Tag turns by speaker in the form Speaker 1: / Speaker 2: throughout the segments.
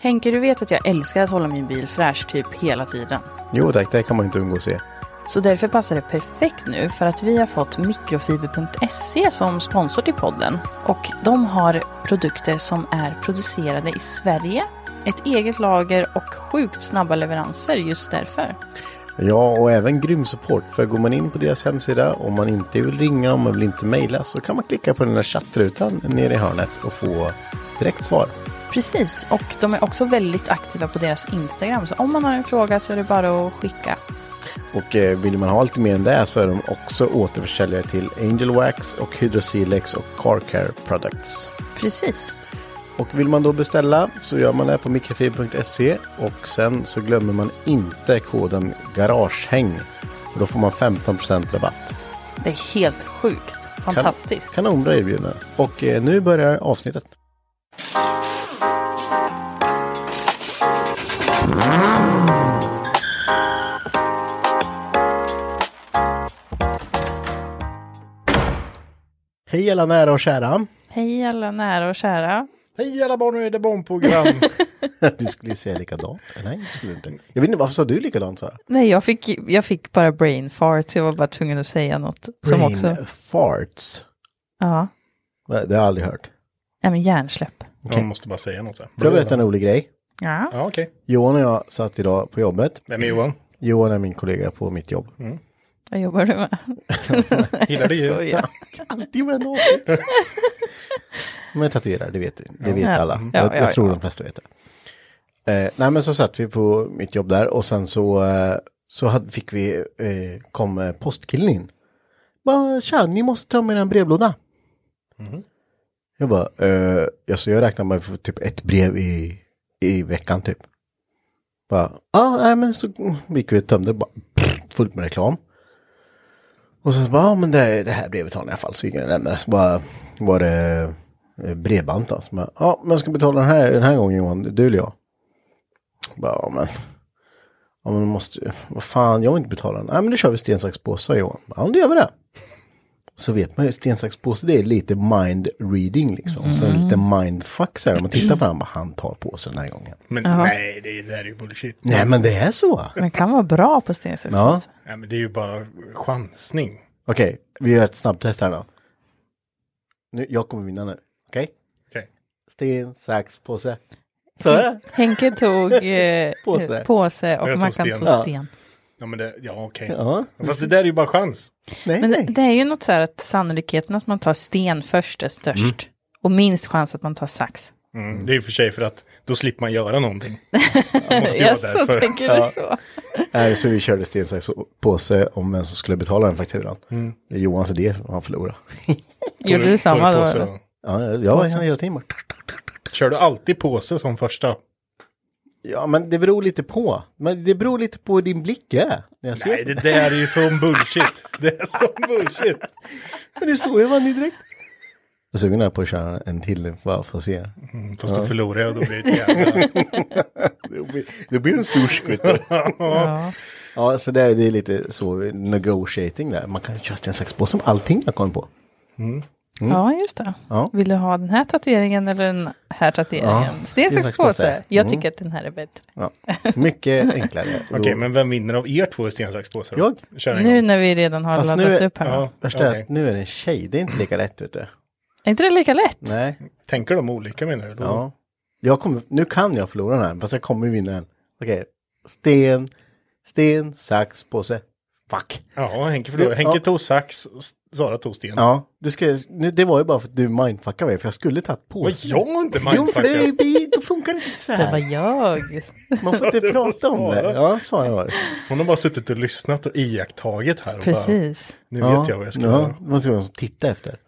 Speaker 1: Henke, du vet att jag älskar att hålla min bil fräsch typ hela tiden.
Speaker 2: Jo tack, det kan man inte undgå att se.
Speaker 1: Så därför passar det perfekt nu för att vi har fått mikrofiber.se som sponsor till podden. Och de har produkter som är producerade i Sverige, ett eget lager och sjukt snabba leveranser just därför.
Speaker 2: Ja, och även grym support. För går man in på deras hemsida, om man inte vill ringa, om man vill inte mejla, så kan man klicka på den där chattrutan nere i hörnet och få direkt svar.
Speaker 1: Precis, och de är också väldigt aktiva på deras Instagram. Så om man har en fråga så är det bara att skicka.
Speaker 2: Och eh, vill man ha lite mer än det så är de också återförsäljare till Angel Wax och Hydrosilex och Car Care Products.
Speaker 1: Precis.
Speaker 2: Och vill man då beställa så gör man det på mikrofiber.se och sen så glömmer man inte koden Garagehäng. För då får man 15% rabatt.
Speaker 1: Det är helt sjukt. Fantastiskt.
Speaker 2: Kan, kanonbra erbjudande. Och eh, nu börjar avsnittet. Hej alla nära och kära.
Speaker 1: Hej alla nära och kära.
Speaker 3: Hej alla barn, nu är det barnprogram.
Speaker 2: Du skulle ju säga likadant. Nej, det skulle du inte. Jag vet inte, varför sa du likadant Sara?
Speaker 1: Nej, jag fick, jag fick bara brain fart, så jag var bara tvungen att säga något som
Speaker 2: Brain
Speaker 1: också...
Speaker 2: farts.
Speaker 1: Ja,
Speaker 2: Nej, Det har jag aldrig hört.
Speaker 1: nej men hjärnsläpp.
Speaker 3: Man måste bara säga något. så här.
Speaker 2: Får jag berätta en rolig grej?
Speaker 1: Ja.
Speaker 3: Ja, okej.
Speaker 2: Johan och jag satt idag på jobbet.
Speaker 3: Vem är Johan?
Speaker 2: Johan är min kollega på mitt jobb.
Speaker 1: Mm. Vad jobbar du med?
Speaker 3: Gillar du
Speaker 1: Jag
Speaker 3: ju?
Speaker 1: skojar.
Speaker 2: Alltid med en åsikt. Men jag tatuerar, det vet, det vet alla.
Speaker 1: Ja,
Speaker 2: jag,
Speaker 1: ja,
Speaker 2: jag tror
Speaker 1: ja.
Speaker 2: de flesta vet det. Eh, nej men så satt vi på mitt jobb där och sen så, eh, så hade, fick vi, eh, kom eh, postkillen in. Bara, tja, ni måste ta med en brevlåda.
Speaker 1: Mm-hmm.
Speaker 2: Jag bara, eh, alltså jag räknar med för typ ett brev i, i veckan typ. Bara, ja, ah, nej men så gick vi och tömde bara, fullt med reklam. Och sen så bara, ja men det, det här brevet har ni i alla fall, så gick jag och lämnade. Så bara var det eh, bredband då. Så bara, ja men jag ska betala den här, den här gången Johan, du eller jag? Bara, ja men. Ja men måste, vad fan, jag vill inte betala den. Nej men då kör vi sten, sax, påse sa Johan. Ja men då gör vi det. Så vet man ju, sten, sax, påse det är lite mind reading liksom. Sen lite mindfuck så här, om man tittar på honom, bara, han tar på sig den här gången.
Speaker 3: Men nej, det, det här är ju bullshit.
Speaker 2: Nej men det är så.
Speaker 1: Men kan vara bra på stensätt.
Speaker 2: Ja.
Speaker 3: Nej, men det är ju bara chansning.
Speaker 2: Okej, vi gör ett snabbtest här då. Nu, jag kommer vinna nu. Okej?
Speaker 3: Okej.
Speaker 2: Sten, sax, påse. Så är det.
Speaker 1: Henke tog eh,
Speaker 2: Påse.
Speaker 1: påse och
Speaker 3: Jag tog
Speaker 1: Mackan
Speaker 3: sten.
Speaker 1: tog
Speaker 2: Ja.
Speaker 1: sten.
Speaker 3: Ja, men det, ja okej.
Speaker 2: Ja.
Speaker 3: Fast det där är ju bara chans.
Speaker 2: Nej,
Speaker 1: Men det,
Speaker 2: nej.
Speaker 1: det är ju något så här att sannolikheten att man tar sten först är störst. Och minst chans att man tar sax.
Speaker 3: Mm. Det är ju för sig för att Då slipper man göra någonting. Man måste ju vara
Speaker 1: Jaså,
Speaker 3: där för...
Speaker 1: tänker du
Speaker 2: Ja.
Speaker 1: så?
Speaker 2: Nej, så vi körde sten, sax, påse om vem som skulle betala den fakturan. Det är Johans idé, han förlorade.
Speaker 1: Gjorde du samma då? eller?
Speaker 2: Ja, jag- jag var hela tiden bara...
Speaker 3: Kör du alltid påse som första?
Speaker 2: Ja, men det beror lite på. Men det beror lite på hur din blick är. När jag ser
Speaker 3: Nej, det där är ju sån bullshit. Det är sån bullshit.
Speaker 2: Men det såg jag vann ju direkt. Jag är sugen här på att köra en till bara för att se.
Speaker 3: Mm, Fast då förlorar jag och då blir det ett jävla...
Speaker 2: Det blir, det blir en stor skvitt.
Speaker 1: Ja.
Speaker 2: ja, så det är, det är lite så negotiating där. Man kan ju köra sten, sax, påse om allting jag kom på.
Speaker 1: ja, just det.
Speaker 2: Mm. Ja.
Speaker 1: Vill du ha den här tatueringen eller den här tatueringen?
Speaker 2: Ja, Mm.
Speaker 1: Sten,
Speaker 2: sten,
Speaker 1: sax,
Speaker 2: sax, påse.
Speaker 1: påse. Jag tycker att den här är bättre.
Speaker 2: Ja. Mycket enklare.
Speaker 3: Okej, men vem vinner av er två i sten, sax, påse då?
Speaker 2: Jag?
Speaker 3: Kör en
Speaker 1: Nu
Speaker 3: gång.
Speaker 1: när vi redan har
Speaker 2: Fast
Speaker 1: laddat
Speaker 2: nu-
Speaker 1: upp här.
Speaker 3: Ja,
Speaker 2: Värsta är
Speaker 3: okej.
Speaker 2: att nu är det en tjej. Det är inte lika lätt vet du.
Speaker 1: Är inte det lika lätt?
Speaker 2: Nej.
Speaker 3: Tänker de olika menar du?
Speaker 2: Ja. Jag kommer, nu kan jag förlora den här, fast jag kommer vinna den. Okej. Sten, sten, sax, påse. Fuck.
Speaker 3: Ja, Henke förlorar.
Speaker 2: Ja.
Speaker 3: Henke tog sax, och S- Sara tog sten.
Speaker 2: Ja, det, ska, jag- nu, det var ju bara för att du mindfuckade mig, för jag skulle tagit på
Speaker 3: Vad jag har inte
Speaker 2: Jo, för det,
Speaker 3: mindfuckat.
Speaker 2: blir- då funkar det inte så
Speaker 1: Det var
Speaker 2: här.
Speaker 1: jag.
Speaker 2: Man får inte
Speaker 3: Det var
Speaker 2: prata om det.
Speaker 3: Sara.
Speaker 2: Ja, sa jag. Bara.
Speaker 3: Hon har bara suttit och lyssnat och iakttagit här. Och Bara,
Speaker 1: Precis.
Speaker 3: nu
Speaker 2: Ja,
Speaker 3: vet jag vad jag ska
Speaker 2: ja,
Speaker 3: göra. Mm.
Speaker 2: det måste man titta efter.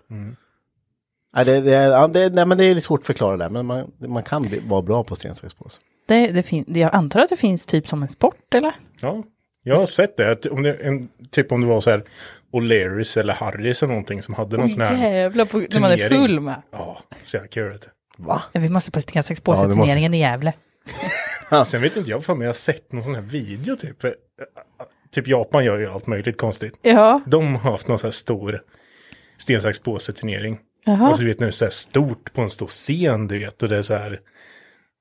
Speaker 2: Nej, det, det, ja, det, nej, men det är lite svårt att förklara det, men man, man kan bli, vara bra på sten, sax, påse.
Speaker 1: Det, det fin- jag antar att det finns typ som en sport eller?
Speaker 3: Ja, jag har sett det. Att Om det en, typ om det var så här O'Learys eller Harrys eller någonting som hade någon sån här.
Speaker 1: jävlar, på, när man är
Speaker 3: turnering.
Speaker 1: full med.
Speaker 3: Ja, så jävla kul. vet du.
Speaker 2: Va?
Speaker 1: Vi måste på sten, sax,
Speaker 2: Ja,
Speaker 1: påse
Speaker 2: det måste-
Speaker 1: turneringen i Gävle.
Speaker 3: Sen vet inte jag för mig, jag har sett någon sån här video typ. För, äh, äh, typ Japan gör ju allt möjligt konstigt.
Speaker 1: Ja,
Speaker 3: De har haft någon sån här stor sten, sax, påse turnering.
Speaker 1: Jaha.
Speaker 3: Och så vet ni, så här stort på en stor scen du vet. Och det är så här.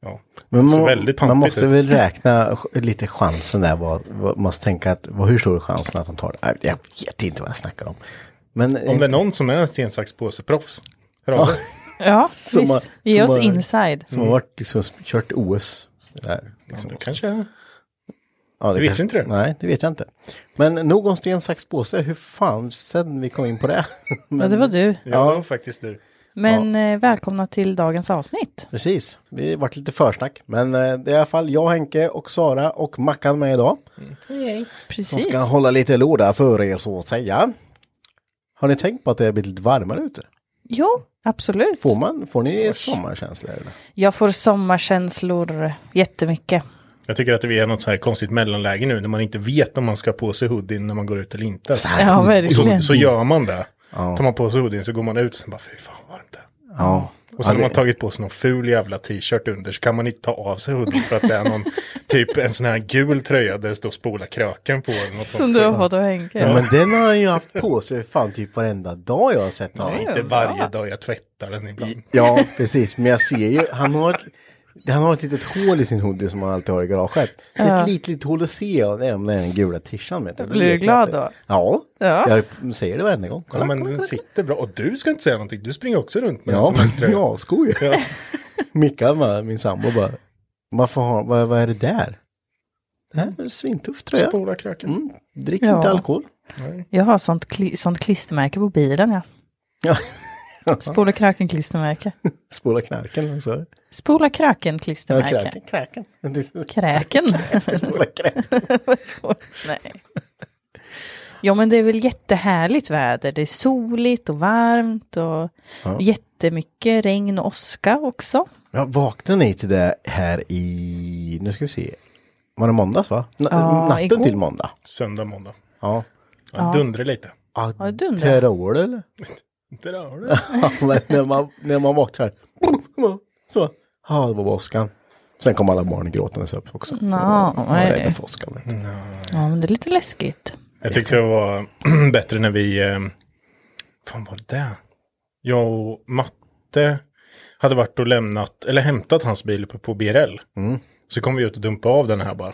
Speaker 3: Ja,
Speaker 2: Men
Speaker 3: så
Speaker 2: man,
Speaker 3: väldigt
Speaker 2: man
Speaker 3: pampigt
Speaker 2: måste
Speaker 3: ut.
Speaker 2: väl räkna ch- lite chansen där. Vad, vad, man måste tänka att vad, hur stor är chansen att han tar det? Nej, Jag vet inte vad jag snackar om. Men
Speaker 3: Om det är någon som är sten, sax, påse proffs. Hör av dig.
Speaker 1: ja
Speaker 2: Som
Speaker 1: visst.
Speaker 2: har-
Speaker 1: Ge
Speaker 2: som
Speaker 1: oss
Speaker 2: har-
Speaker 1: inside.
Speaker 2: som har varit, liksom, kört OS. Där, liksom.
Speaker 3: Mm. Det kanske är.
Speaker 2: Ja, det
Speaker 3: Du vet
Speaker 2: kanske-
Speaker 3: inte det?
Speaker 2: Nej, det vet jag inte. Men nog om sten, sax, påse. Hur fan sen vi kom in på det? Men,
Speaker 1: Ja, det var du.
Speaker 3: Ja, faktiskt du.
Speaker 1: Men eh, välkomna till dagens avsnitt.
Speaker 2: Precis, vi har varit lite försnack. Men eh, det är i alla fall jag, Henke och Sara och Mackan med idag. Som
Speaker 1: Precis.
Speaker 2: ska hålla lite låda för er så att säga. Har ni tänkt på att det har blivit lite varmare ute?
Speaker 1: Jo, absolut.
Speaker 2: Får, man, får ni sommarkänsla? Eller?
Speaker 1: Jag får sommarkänslor jättemycket.
Speaker 3: Jag tycker att vi är något så här konstigt mellanläge nu när man inte vet om man ska ha på sig hoodien när man går ut eller inte.
Speaker 2: Mm.
Speaker 1: Ja,
Speaker 3: Så,
Speaker 1: verkligen.
Speaker 3: så gör man det. Tar man på sig hoodien så går man ut och sen bara fy fan vad varmt det är.
Speaker 2: Ja.
Speaker 3: Och sen
Speaker 2: Ja,
Speaker 3: har man
Speaker 2: det-
Speaker 3: tagit på sig någon ful jävla t-shirt under så kan man inte ta av sig hoodien för att det är någon typ en sån här gul tröja där det står spola kröken på eller något
Speaker 1: Som
Speaker 3: sånt.
Speaker 1: du har fått av Henke.
Speaker 2: Ja, men den har jag ju haft på sig fan typ varenda dag jag har sett honom.
Speaker 3: Nej, inte varje dag jag tvättar den ibland.
Speaker 2: Ja, precis. Men jag ser ju, han har ett, han har ett litet hål i sin hoodie som han alltid har i garaget. Ett litet, litet hål att se och det är om det är den gula tishan. Vet du.
Speaker 1: Blir du
Speaker 2: vet jag
Speaker 1: glad
Speaker 2: att det-
Speaker 1: då?
Speaker 2: Ja,
Speaker 1: Ja.
Speaker 2: jag säger det varje gång.
Speaker 3: Ja,
Speaker 2: Kolla,
Speaker 3: men den sitter bra. Och du ska inte säga någonting, du springer också runt med
Speaker 2: ja,
Speaker 3: den som en tröja.
Speaker 2: jag skojar.
Speaker 3: Ja.
Speaker 2: Mickan, bara, min sambo, bara, varför har, vad, vad är det där? Det här är en svintuff tröja.
Speaker 3: Spola kröken.
Speaker 2: Mm, drick
Speaker 1: Ja.
Speaker 2: inte alkohol.
Speaker 1: Jag har sånt, kli- sånt klistermärke på bilen, ja.
Speaker 2: Ja.
Speaker 1: Spola kröken-klistermärke.
Speaker 2: Spola knarken, sa du?
Speaker 1: Spola
Speaker 2: Ja,
Speaker 1: kröken-klistermärke.
Speaker 2: kräken. Kräken.
Speaker 1: Kräken.
Speaker 2: Spola kräken.
Speaker 1: Nej. Ja, men det är väl jättehärligt väder. Det är soligt och varmt och jättemycket regn och åska också.
Speaker 2: Ja, vaknade ni till det här i, nu ska vi se, var det måndags va? N-
Speaker 1: Ja,
Speaker 2: natten
Speaker 1: igår.
Speaker 2: till måndag.
Speaker 3: Söndag, måndag.
Speaker 2: Ja.
Speaker 3: Ja, Dundrar lite.
Speaker 1: Ja, det undrar jag.
Speaker 2: Terror eller?
Speaker 3: Det där har du.
Speaker 2: Ja, men när man, när man vaknar så, ja det var åskan. Sen kom alla barn gråtandes upp också.
Speaker 1: Nå,
Speaker 2: Jag var
Speaker 1: nej.
Speaker 2: rädda för åskan. vet du.
Speaker 1: Ja, men det är lite läskigt.
Speaker 3: Jag tyckte det var bättre när vi... Eh, fan var det? Jag och Matte hade varit och lämnat, eller hämtat hans bil uppe på BRL.
Speaker 2: Mm.
Speaker 3: Så kom vi ut och dumpade av den här bara.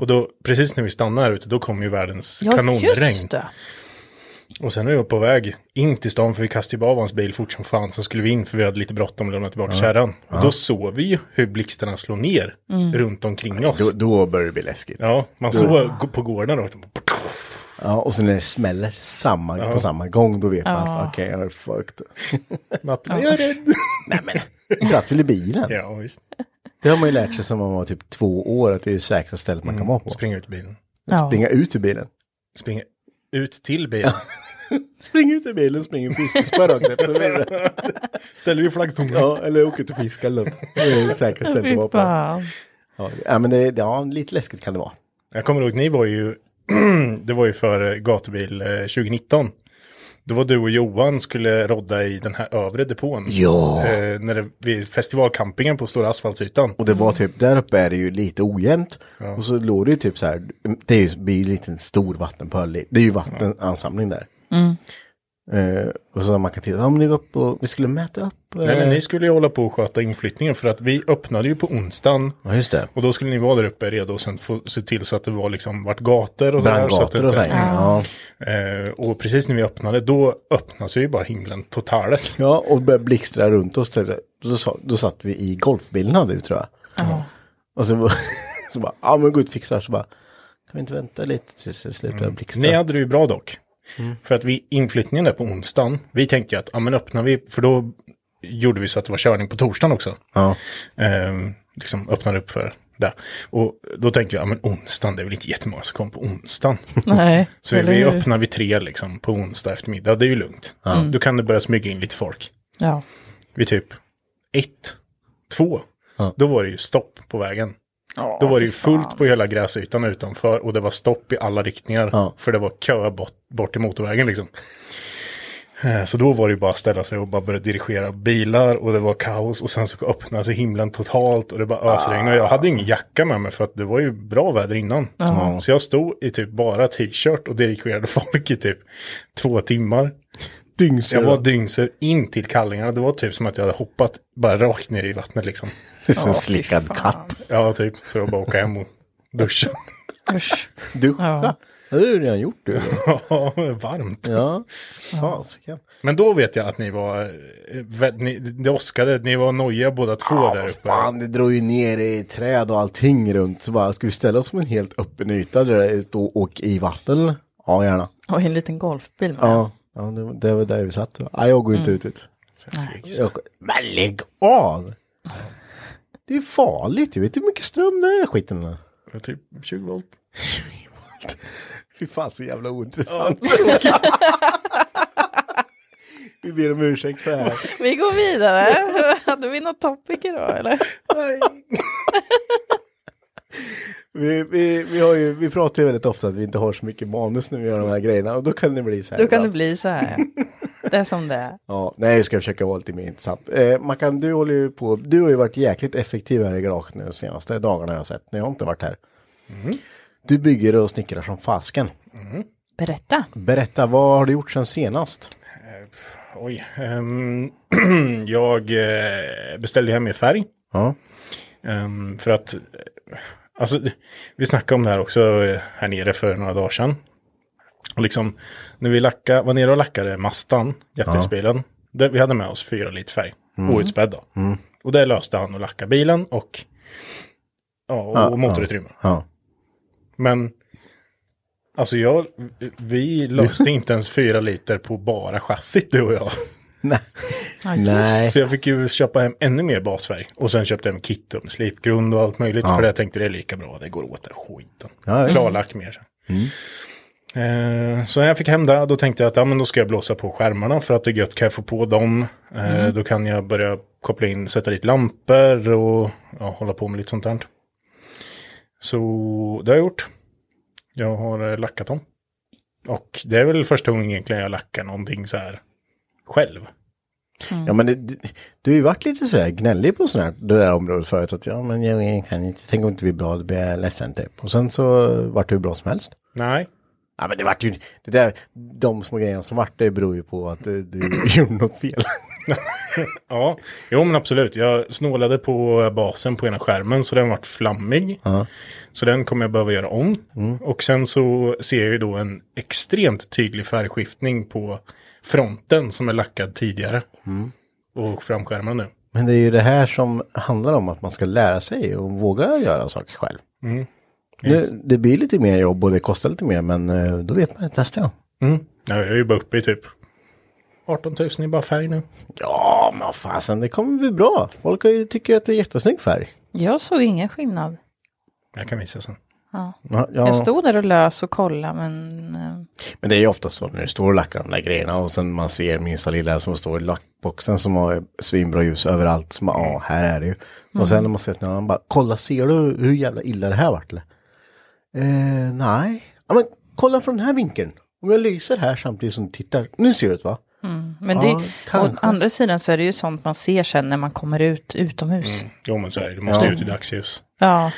Speaker 3: Och då, precis när vi stannar här ute, då kom ju världens kanonregn.
Speaker 1: just det.
Speaker 3: Och sen är jag på väg in till stan, för vi kastade ju bara av hans bil fort som fan. Sen skulle vi in, för vi hade lite bråttom och lämnat tillbaka kärran. Och då såg vi ju hur blixtarna slår ner runt omkring oss.
Speaker 2: Då, då börjar det bli läskigt. Ja.
Speaker 3: Ja, man såg på gården då. liksom,
Speaker 2: och sen när det smäller samma, på samma gång då vet man att okej, jag är fucked.
Speaker 3: Matte, jag är rädd.
Speaker 2: Satt väl i bilen?
Speaker 3: Ja, visst.
Speaker 2: Det har man ju lärt sig sedan man var typ två år att det är det säkra stället man kan vara på.
Speaker 3: Springa ut i bilen.
Speaker 1: Ja.
Speaker 2: Springa ut ur bilen.
Speaker 3: Springa ut till bilen.
Speaker 2: Spring ut ur bilen, spring och fiskespö rakt efter.
Speaker 3: Ställer vi flaggstången.
Speaker 2: Ja, eller åker till fisk eller något. Det är det säkra stället att vara
Speaker 1: Fy
Speaker 2: på.
Speaker 1: fan.
Speaker 2: Ja, Ja, men det, ja, lite läskigt kan det vara.
Speaker 3: Jag kommer ihåg, ni var ju, det var ju för gatubil eh, 2019. Då var du och Johan skulle rodda i den här övre depån.
Speaker 2: Ja.
Speaker 3: Eh, när det, vid festivalcampingen på Stora Asfaltsytan.
Speaker 2: Och det var typ, där uppe är det ju lite ojämnt. Och så låg det ju typ så här, det är ju det blir ju lite en stor vattenpöl. Det är ju vattenansamling där. Eh, och så när man kan titta, ja men ni går upp och, vi skulle mäta upp. eh,
Speaker 3: Nej, men ni skulle ju hålla på och sköta inflyttningen för att vi öppnade ju på onsdagen.
Speaker 2: Ja just det.
Speaker 3: Och då skulle ni vara där uppe redo och sen få se till så att det var liksom vart gator och sådär, så att det
Speaker 2: Brandgator och
Speaker 3: inte-
Speaker 2: så här. Ja.
Speaker 3: Eh, och precis när vi öppnade, då öppnas ju bara himlen totalt.
Speaker 2: ja, och började blixtra runt oss. Till, då, sa- då satt vi i golfbilen hade vi tror jag. Och så, bara- så bara, ja men gå ut och fixa det här. Så bara, kan vi inte vänta lite tills det slutar blixtra?
Speaker 3: Ni hade det ju bra dock. För att vi, inflyttningen där på onsdagen, vi tänkte ju att, ja men öppnar vi, för då gjorde vi så att det var körning på torsdagen också.
Speaker 2: Ja.
Speaker 3: Eh, liksom öppnade upp för det. Och då tänkte vi, ja men onsdagen, det är väl inte jättemånga som kommer på onsdagen.
Speaker 1: Nej,
Speaker 3: Så
Speaker 1: eller
Speaker 3: vi
Speaker 1: hur?
Speaker 3: öppnar vid tre liksom på onsdag eftermiddag, det är ju lugnt. Mm. Då kan det börja smyga in lite folk.
Speaker 1: Ja.
Speaker 3: Vid typ ett, två,
Speaker 2: Ja.
Speaker 3: då var det ju stopp på vägen. Då var det ju fullt på hela gräsytan utanför och det var stopp i alla riktningar.
Speaker 2: Ja.
Speaker 3: För det var kö bort, bort till motorvägen liksom. Eh, Så då var det ju bara att ställa sig och bara börja dirigera bilar och det var kaos och sen så öppnade sig himlen totalt och det bara ösregnade. Och jag hade ingen jacka med mig för att det var ju bra väder innan. Så jag stod i typ bara t-shirt och dirigerade folk i typ två timmar.
Speaker 2: Dyngsur.
Speaker 3: Jag var dyngsur in till kallingarna. Det var typ som att jag hade hoppat bara rakt ner i vattnet liksom.
Speaker 2: som en slickad katt.
Speaker 3: Ja, typ. Så jag bara åka hem och duscha.
Speaker 1: Usch.
Speaker 2: Duscha.
Speaker 1: Ja.
Speaker 2: Det har du redan gjort du.
Speaker 3: Ja, varmt.
Speaker 2: Ja. Fasiken.
Speaker 3: Men då vet jag att ni var, eh, vä- ni, det åskade, ni var nojiga båda två
Speaker 2: Ja,
Speaker 3: där
Speaker 2: Ah, vad
Speaker 3: uppe.
Speaker 2: fan, det drog ju ner i träd och allting runt. Så bara, ska vi ställa oss på en helt öppen yta där det stod och åk i vatten? eller? Ja, gärna.
Speaker 1: Och en liten golfbil med.
Speaker 2: Ja, ja det, var- det var där vi satt. Ja, jag går inte
Speaker 3: Mm.
Speaker 2: ut. ut. Jag, men lägg av! Det är farligt, jag vet hur mycket ström den här skiten är.
Speaker 3: Typ 20 volt.
Speaker 2: Fy fan så jävla ointressant. vi ber om ursäkt för det här.
Speaker 1: Vi går vidare. Hade vi något topic idag eller?
Speaker 2: Vi, vi, vi, har ju, vi pratar ju väldigt ofta att vi inte har så mycket manus när vi gör de här grejerna och då kan det bli så här.
Speaker 1: Då kan det
Speaker 2: ibland.
Speaker 1: bli så här. Det är som det är.
Speaker 2: Ja, nej, jag ska försöka vara lite mer intressant. Eh, Mackan, du håller ju på, du har ju varit jäkligt effektiv här i garaget nu de senaste dagarna jag har sett, när jag inte varit här. Du bygger och snickrar som fasken.
Speaker 1: Berätta.
Speaker 2: Berätta, vad har du gjort sen senast?
Speaker 3: Oj. ehm, jag eh, beställde hem i färg.
Speaker 2: Ja,
Speaker 3: Ehm, för att, eh, alltså, d- vi snackade om det här också eh, här nere för några dagar sedan. Och liksom, när vi lacka, var nere och lackade Mastan, jättesbilen, där vi hade med oss fyra liter färg,
Speaker 2: Mm.
Speaker 3: outspädd då. Och det löste han att lacka bilen och, ja, och
Speaker 2: Ja,
Speaker 3: motorutrymme.
Speaker 2: ja.
Speaker 3: Men, alltså jag, vi löste inte ens fyra liter på bara chassit du och jag.
Speaker 2: Nej.
Speaker 1: just.
Speaker 2: nej.
Speaker 3: Så jag fick ju köpa hem ännu mer basfärg. Och sen köpte jag hem kit och med slipgrund och allt möjligt. För jag tänkte det är lika bra, det går åt den skiten.
Speaker 2: Ja, visst. Mm.
Speaker 3: Klarlack mer sen. Eh, så när jag fick hem det, då tänkte jag att ja, men då ska jag blåsa på skärmarna för att det är gött, kan jag få på dem. Eh,
Speaker 2: Mm.
Speaker 3: Då kan jag börja koppla in, sätta dit lampor och ja, hålla på med lite sånt där. Så det har jag gjort. Jag har eh, lackat dem. Och det är väl första gången egentligen jag lackar någonting så här själv.
Speaker 2: Ja, men det, du, du har ju varit lite så här gnällig på sån här, det där området förut. Att ja, men jag kan inte, tänk om det inte blir bra, då blir jag ledsen typ. Och sen så vart det hur bra som helst.
Speaker 3: Nej,
Speaker 2: Ja, men det vart ju inte, det där, de små grejerna som vart det beror ju på att eh, du gjorde något fel.
Speaker 3: Ja, jo men absolut. Jag snålade på basen på ena skärmen så den vart flammig. Så den kommer jag behöva göra om. Och sen så ser jag ju då en extremt tydlig färgskiftning på fronten som är lackad tidigare. Och framskärmen nu.
Speaker 2: Men det är ju det här som handlar om att man ska lära sig och våga göra saker själv. Nu, det blir lite mer jobb och det kostar lite mer, men eh, då vet man det nästa gång.
Speaker 3: Ja, jag är ju bara uppe i typ 18 000 i bara färg nu.
Speaker 2: Ja, men vad fasen, det kommer bli bra. Folk har ju- tycker ju att det är jättesnygg färg.
Speaker 1: Jag såg ingen skillnad.
Speaker 3: Jag kan visa sen.
Speaker 1: Ja.
Speaker 2: Ja, ja.
Speaker 1: Jag stod där och lös och kollade men eh,
Speaker 2: Men det är ju ofta så när du står och lackar de där grejerna och sen man ser minsta lilla som står i lackboxen som har svinbra ljus överallt. Som ja, här är det ju. Och sen när man sett någon annan bara, kolla ser du hur jävla illa det här vart eller? Eh, nej. Ja men kolla från den här vinkeln. Om jag lyser här samtidigt som du tittar. Nu ser du det va?
Speaker 1: Men
Speaker 2: Ja,
Speaker 1: det, å
Speaker 2: kanske.
Speaker 1: andra sidan så är det ju sånt man ser sen när man kommer ut utomhus.
Speaker 2: Mm.
Speaker 3: Jo men så är det, du måste ut i dagsljus.
Speaker 1: Ja,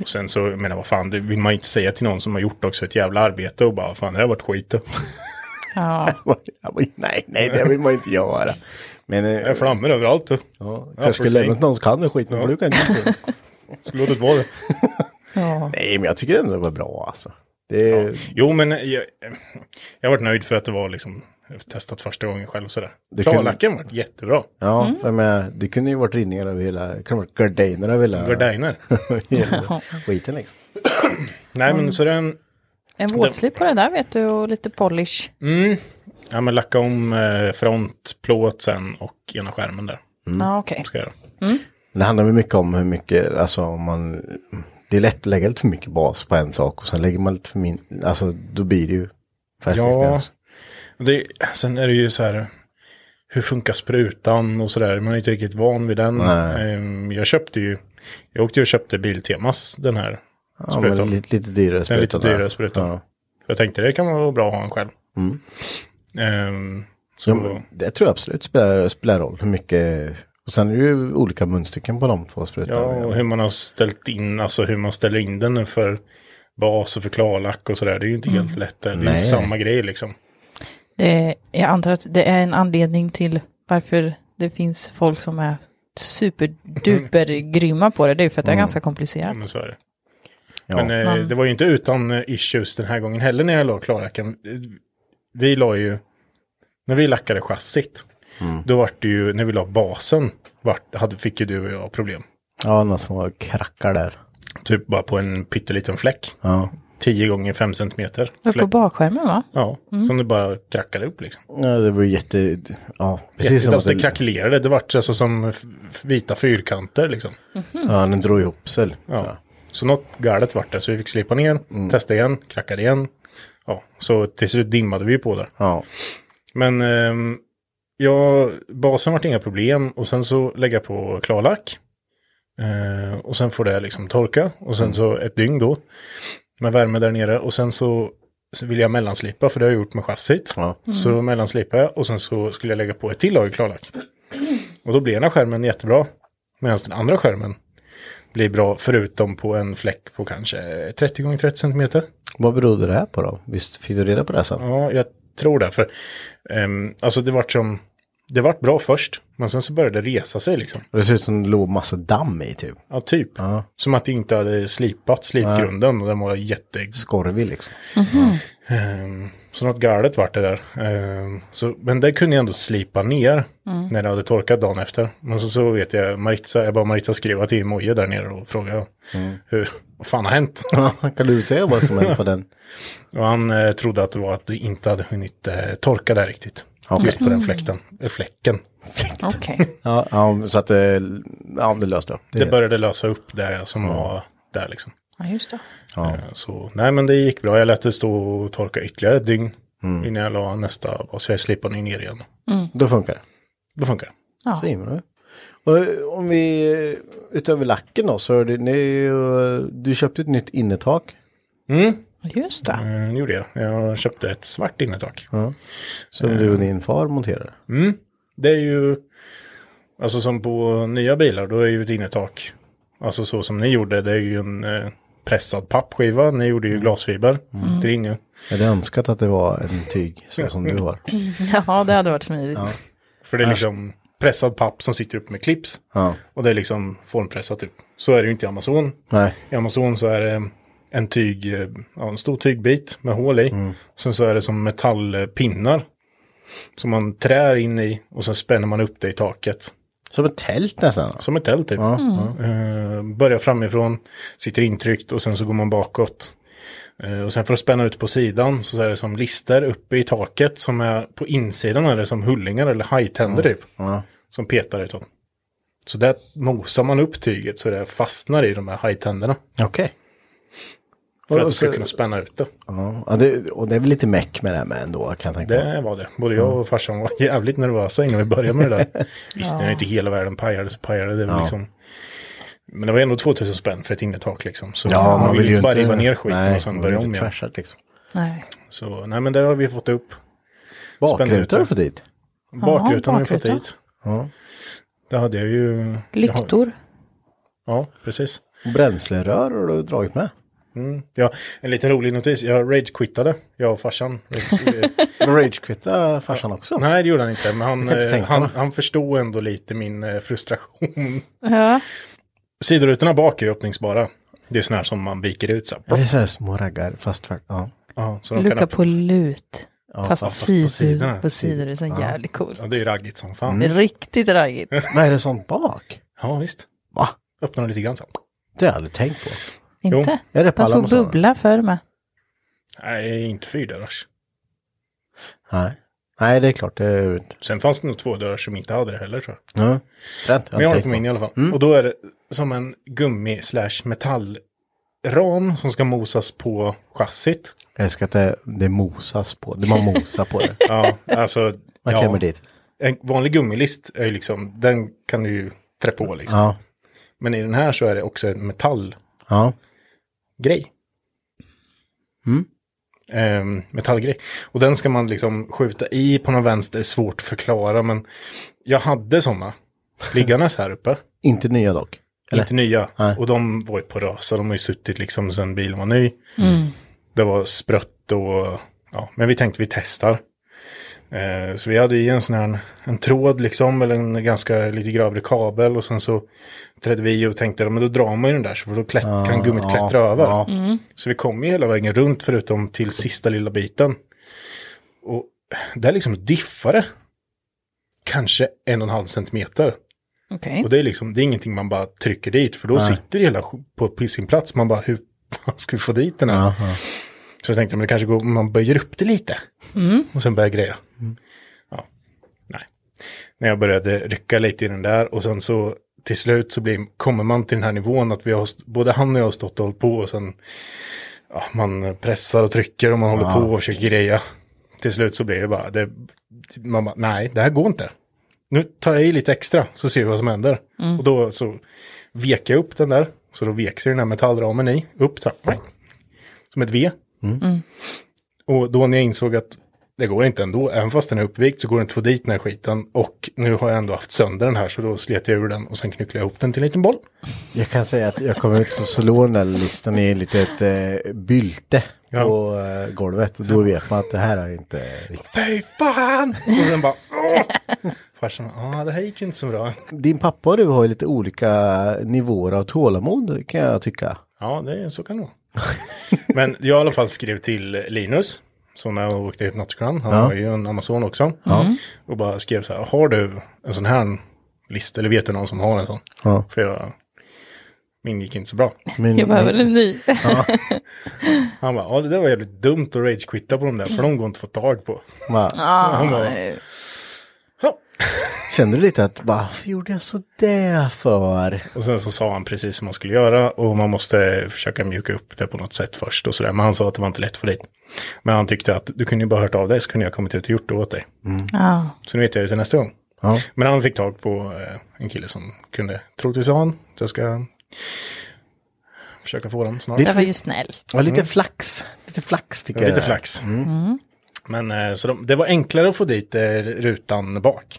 Speaker 3: Och sen så, jag menar vad fan, det vill man ju inte säga till någon som har gjort också ett jävla arbete och bara, fan det har varit skit.
Speaker 1: ja.
Speaker 2: Jag bara, nej, nej det vill man ju inte göra. Men
Speaker 3: Det är
Speaker 2: eh,
Speaker 3: flammor överallt.
Speaker 2: ja,
Speaker 3: Ja,
Speaker 2: kanske skulle
Speaker 3: precis.
Speaker 2: lämnat någon som kan den skiten. för Du kan inte.
Speaker 3: Skulle låtit vara det.
Speaker 1: ja.
Speaker 2: nej men jag tycker ändå det var bra alltså. Det är,
Speaker 3: Jo men jag, eh, jag har varit nöjd för att det var liksom, jag har testat första gången själv sådär.
Speaker 2: Det kunde-
Speaker 3: Klarlacken var jättebra.
Speaker 2: Ja,
Speaker 3: Mm.
Speaker 2: för jag menar, det kunde ju varit rinningar över hela, det kunde varit gardiner över hela,
Speaker 3: Gardiner.
Speaker 2: hela skiten liksom.
Speaker 3: Nej men så den,
Speaker 1: En våtslip på det där vet du och lite polish.
Speaker 3: ja men lacka om eh, front, plåt sen och ena skärmen där.
Speaker 2: Mm.
Speaker 1: Ja, okej.
Speaker 3: Ska jag göra.
Speaker 2: Men Det handlar väl mycket om hur mycket, alltså om man, det är lätt att lägga lite för mycket bas på en sak och sen lägger man lite för min, alltså då blir det ju alltså.
Speaker 3: Ja.
Speaker 2: färskviktning.
Speaker 3: Det, sen är det ju så här, hur funkar sprutan och sådär. Man är inte riktigt van vid den.
Speaker 2: Nej.
Speaker 3: Ehm, Jag köpte ju, jag åkte ju och köpte Biltemas, den här
Speaker 2: Ja, men
Speaker 3: sprutan.
Speaker 2: lite, lite dyrare
Speaker 3: Den lite
Speaker 2: sprutan. där.
Speaker 3: dyrare sprutan.
Speaker 2: Ja. Mm.
Speaker 3: Jag tänkte det kan vara bra att ha en själv. Ehm, så,
Speaker 2: Ja, men det tror jag absolut spelar, spelar roll, hur mycket, och sen är det ju olika munstycken på de två
Speaker 3: ja,
Speaker 2: sprutorna.
Speaker 3: och hur man har ställt in, alltså hur man ställer in den för bas och för klarlack och sådär. Det är ju inte helt lätt. där. Det är ju
Speaker 2: Mm. Nej.
Speaker 3: inte samma grej liksom.
Speaker 1: Det, jag antar att det är en anledning till varför det finns folk som är
Speaker 3: Mm.
Speaker 1: superduper grymma på det. Det är ju för att det är ganska
Speaker 3: Ja,
Speaker 1: komplicerat.
Speaker 3: men så är det.
Speaker 2: Ja.
Speaker 3: Men eh,
Speaker 1: Man-
Speaker 3: det var ju inte utan eh, issues den här gången heller när jag la klarlacken. Eh, Vi la ju, när vi lackade chassit,
Speaker 2: Mm.
Speaker 3: då var det ju, när vi la basen, vart, hade, fick ju du och jag problem.
Speaker 2: ja, några små krackar där.
Speaker 3: Typ bara på en pytteliten fläck,
Speaker 2: Ja.
Speaker 3: 10 gånger 5 centimeter.
Speaker 1: Uppe på
Speaker 3: Fläck,
Speaker 1: bakskärmen va?
Speaker 3: ja,
Speaker 2: Mm.
Speaker 3: som det bara krackade upp liksom.
Speaker 2: ja, det var ju jätte, ja, precis som
Speaker 3: Jätte, alltså,
Speaker 2: att
Speaker 3: det krackelerade, det vart alltså som f- f- vita fyrkanter liksom.
Speaker 2: ja, den drog ihop sig.
Speaker 3: Ja. Så något galet vart det, så vi fick slipa ner,
Speaker 2: Mm.
Speaker 3: testa igen, krackade igen. Ja, så till slut dimmade vi ju på där.
Speaker 2: Ja.
Speaker 3: Men ehm, ja, basen vart inga problem och sen så lägga på klarlack. Eh, och sen får det liksom torka och sen så ett dygn då. Med värme där nere och sen så, så vill jag mellanslipa för det har jag gjort med chassit.
Speaker 2: Ja.
Speaker 3: Så då mellanslipade jag och sen så skulle jag lägga på ett till lager klarlack. Och då blir ena skärmen jättebra. Medan den andra skärmen blir bra förutom på en fläck på kanske 30 gånger 30 centimeter.
Speaker 2: Vad berodde det här på då? Visst fick du reda på det sen?
Speaker 3: Ja, jag tror det. För, ehm, alltså det vart som, det vart bra först, men sen så började det resa sig liksom.
Speaker 2: Det ser ut som det låg massa damm i typ.
Speaker 3: Ja, typ. Som att det inte hade slipat slipgrunden och den var jätte...
Speaker 2: Skorvig liksom.
Speaker 3: ehm, så något galet vart det där. Ehm, så, men det kunde jag ändå slipa ner när det hade torkat dagen efter. Men så, så vet jag, Maritza, jag bara Maritza skrev till Moje där nere och frågade hur, vad fan har hänt?
Speaker 2: kan du säga vad som hände på den?
Speaker 3: Och han eh, trodde att det var att det inte hade hunnit eh, torka där riktigt.
Speaker 2: Okej.
Speaker 3: Just på den fläkten, eller fläcken.
Speaker 1: Okej.
Speaker 2: Ja, ja så att det, ja, det löste upp.
Speaker 3: det började lösa upp det som var där liksom.
Speaker 1: Ja, just det.
Speaker 2: Ja.
Speaker 3: Eh, Så nej men det gick bra. Jag lät det stå och torka ytterligare ett dygn
Speaker 2: Mm.
Speaker 3: innan jag la nästa bas. Jag slipade ner ner igen.
Speaker 2: Då funkar det.
Speaker 3: Då funkar det.
Speaker 1: Ja.
Speaker 2: Så himla bra. Och eh, om vi, utöver lacken då, så är det, ni, är ju- du köpte ett nytt innertak.
Speaker 1: Just det.
Speaker 3: Eh, Det gjorde jag. Jag köpte ett svart innertak.
Speaker 2: Som du och din far monterade.
Speaker 3: Det är ju, alltså som på nya bilar, då är ju ett innertak, alltså så som ni gjorde, det är ju en eh, pressad pappskiva. Ni gjorde
Speaker 2: Mm.
Speaker 3: ju glasfiber. Det är inget.
Speaker 2: Jag hade önskat att det var en tyg så som du har.
Speaker 1: Ja, det hade varit smidigt.
Speaker 3: För det är liksom pressad papp som sitter upp med clips.
Speaker 2: Ja.
Speaker 3: Och det är liksom formpressat upp. Så är det ju inte i Amazon.
Speaker 2: Nej.
Speaker 3: I Amazon så är det en, tyg, eh, ja, en stor tygbit med hål i.
Speaker 2: Mm.
Speaker 3: Sen så är det som metallpinnar. Som man trär in i och sen spänner man upp det i taket.
Speaker 2: Som ett tält nästan.
Speaker 3: Som ett tält typ.
Speaker 2: Ja.
Speaker 3: Eh, börjar framifrån, sitter intryckt och sen så går man bakåt. Eh, och sen för att spänna ut på sidan så är det som lister uppe i taket som är på insidan är det som hullingar eller hajtänder typ. Som petar i dem. Så där mosar man upp tyget så det fastnar i de här hajtänderna.
Speaker 2: Okej.
Speaker 3: För
Speaker 2: Och
Speaker 3: att du ska
Speaker 2: så-
Speaker 3: kunna spänna ut det.
Speaker 2: Ja, ja, det, och det är väl lite meck med det här med ändå kan jag tänka mig.
Speaker 3: Det var det. Både jag och farsan var jävligt nervösa innan vi började med det där. Visst, när inte hela världen pajade så pajade det väl
Speaker 2: Ja.
Speaker 3: liksom. Men det var ändå 2000 spänn för ett innertak liksom. Så
Speaker 2: Ja, man vill ju
Speaker 3: bara
Speaker 2: inte-
Speaker 3: riva ner skiten
Speaker 2: nej,
Speaker 3: och sen
Speaker 2: man vill
Speaker 3: börja om
Speaker 2: inte
Speaker 3: igen.
Speaker 2: trasha liksom.
Speaker 1: Nej.
Speaker 3: Så nej, men det har vi fått upp.
Speaker 2: Bakrutor har du fått dit.
Speaker 3: Bakrutan har vi fått
Speaker 1: bakruta.
Speaker 3: dit. Det hade jag ju.
Speaker 1: Lyktor.
Speaker 3: Ja, precis. Mm.
Speaker 2: Och Bränslerör har du dragit med.
Speaker 3: Ja, en liten rolig notis. Jag ragequittade, jag och farsan. Rage-
Speaker 2: Ragequitta farsan också.
Speaker 3: Nej, det gjorde han inte. Men han,
Speaker 2: Jag kan inte
Speaker 3: eh,
Speaker 2: tänka
Speaker 3: han,
Speaker 2: mig.
Speaker 3: han förstod ändå lite min eh, frustration.
Speaker 1: Ja.
Speaker 3: Sidorutorna bak är ju öppningsbara. Det är sådana här som man viker ut så här.
Speaker 2: Ja, Det är så här små raggar fast tvärt. Ja.
Speaker 3: Ja, så de kan
Speaker 1: Lucka
Speaker 3: öppna.
Speaker 1: på lut.
Speaker 2: Ja,
Speaker 1: fast,
Speaker 3: fast på
Speaker 1: sidor
Speaker 3: sidorna.
Speaker 1: på sidor är så jävligt coolt.
Speaker 3: Ja, det är Mm. ju raggigt som fan.
Speaker 1: Det är
Speaker 2: Mm.
Speaker 1: riktigt raggigt.
Speaker 2: Men är det sånt bak?
Speaker 3: Ja, visst.
Speaker 2: Va?
Speaker 3: Öppna dem lite grann så. här.
Speaker 2: Det har jag aldrig tänkt på.
Speaker 1: Inte?
Speaker 2: Är det på
Speaker 1: Fast
Speaker 2: alla
Speaker 1: på
Speaker 2: mosarer?
Speaker 1: bubbla förr med.
Speaker 3: Nej, inte fyrdörrars.
Speaker 2: Nej. Nej, det är klart. Det är ju inte.
Speaker 3: Sen fanns det nog två dörrar som inte hade det heller tror jag.
Speaker 2: Ja. Rätt.
Speaker 3: Men jag har det
Speaker 2: tänkt
Speaker 3: på min i alla fall.
Speaker 2: Mm.
Speaker 3: Och då är det som en gummi slash metallram som ska mosas på chassit.
Speaker 2: Jag älskar att det, det mosas på. Det man mosar på det.
Speaker 3: Ja, alltså.
Speaker 2: Man
Speaker 3: ja.
Speaker 2: klämmer dit.
Speaker 3: En vanlig gummilist är ju liksom, den kan du ju trä på liksom.
Speaker 2: Ja.
Speaker 3: Men i den här så är det också en metallgrej.
Speaker 2: Ja.
Speaker 3: Mm. Ehm, metallgrej. Och den ska man liksom skjuta i på någon vänster, svårt att förklara men jag hade sådana liggandes här uppe.
Speaker 2: Inte nya dock. Eller?
Speaker 3: Inte nya.
Speaker 2: Nej.
Speaker 3: Och de var ju porösa, de har ju suttit liksom sedan bilen var ny. Det var sprött och, ja, men vi tänkte vi testar. Eh, så vi hade i en sån här, en tråd liksom, eller en ganska lite grövre kabel och sen så trädde vi i och tänkte, ja, men då drar man ju den där så för då klätt, kan gummit klättra över.
Speaker 2: Ja.
Speaker 3: Så vi kom ju hela vägen runt förutom till sista lilla biten. Och där liksom diffade kanske en och en halv centimeter.
Speaker 1: Okej.
Speaker 3: Och det är liksom, det är ingenting man bara trycker dit, för då sitter det hela sk- på på sin plats. Man bara, hur fan ska vi få dit den här?
Speaker 2: Ja, ja.
Speaker 3: Så jag tänkte, men det kanske går om man böjer upp det lite.
Speaker 2: Mm.
Speaker 3: Och sen börjar greja. Ja, nej. När jag började rycka lite i den där och sen så till slut så blir, kommer man till den här nivån att vi har, st- både han och jag har stått och hållit på och sen ja, man pressar och trycker och man håller på och försöker greja. Till slut så blir det bara, det, man bara, nej, det här går inte. Nu tar jag i lite extra så ser vi vad som händer. Och då så vek jag upp den där, så då vek sig den här metallramen i, upp så här, som ett V. Mm. Och då när jag insåg att det går inte ändå, även fast den är uppvikt så går det inte att få dit den här skiten. Och nu har jag ändå haft sönder den här så då slet jag ur den och sen knycklade jag ihop den till en liten boll.
Speaker 2: Jag kan säga att jag kommer ut och slår den där listan i ett litet eh, bylte
Speaker 3: Ja.
Speaker 2: på eh, golvet. Och då vet man att det här är inte riktigt.
Speaker 3: Fy fan! Och den bara... Åh! Farsan, ja ah, det här gick ju inte så bra.
Speaker 2: Din pappa och du har ju lite olika nivåer av tålamod kan jag tycka.
Speaker 3: Ja, det är, så kan det vara. Men jag i alla fall skrev till Linus, som jag åkte till Nottingham, han har ju en Amazon också. Och bara skrev så här, har du en sån här lista eller vet du någon som har en sån?
Speaker 2: Ja.
Speaker 3: För jag, min gick inte så bra.
Speaker 2: Men,
Speaker 1: Jag behöver en ny.
Speaker 3: Han bara, ja det där var jävligt dumt att ragequitta på de där, för de går inte att få tag på.
Speaker 2: va,
Speaker 3: Han bara, ja.
Speaker 2: kände du lite att varför gjorde jag så där för?
Speaker 3: Och sen så sa han precis hur man skulle göra och man måste försöka mjuka upp det på något sätt först och sådär. Men han sa att det var inte lätt för dig. Men han tyckte att du kunde ju bara hört av dig så kunde jag kommit ut och gjort det åt dig.
Speaker 1: Ja.
Speaker 3: Så nu vet jag ju till nästa gång.
Speaker 2: Ja.
Speaker 3: Men han fick tag på eh, en kille som kunde, troligtvis ha han. Så jag ska försöka få dem snart.
Speaker 1: Det var ju snällt.
Speaker 2: Ja, lite flax. Lite flax tycker
Speaker 3: Det var
Speaker 2: jag.
Speaker 3: Mm. lite flax. Men eh, så de, det var enklare att få dit eh, rutan bak.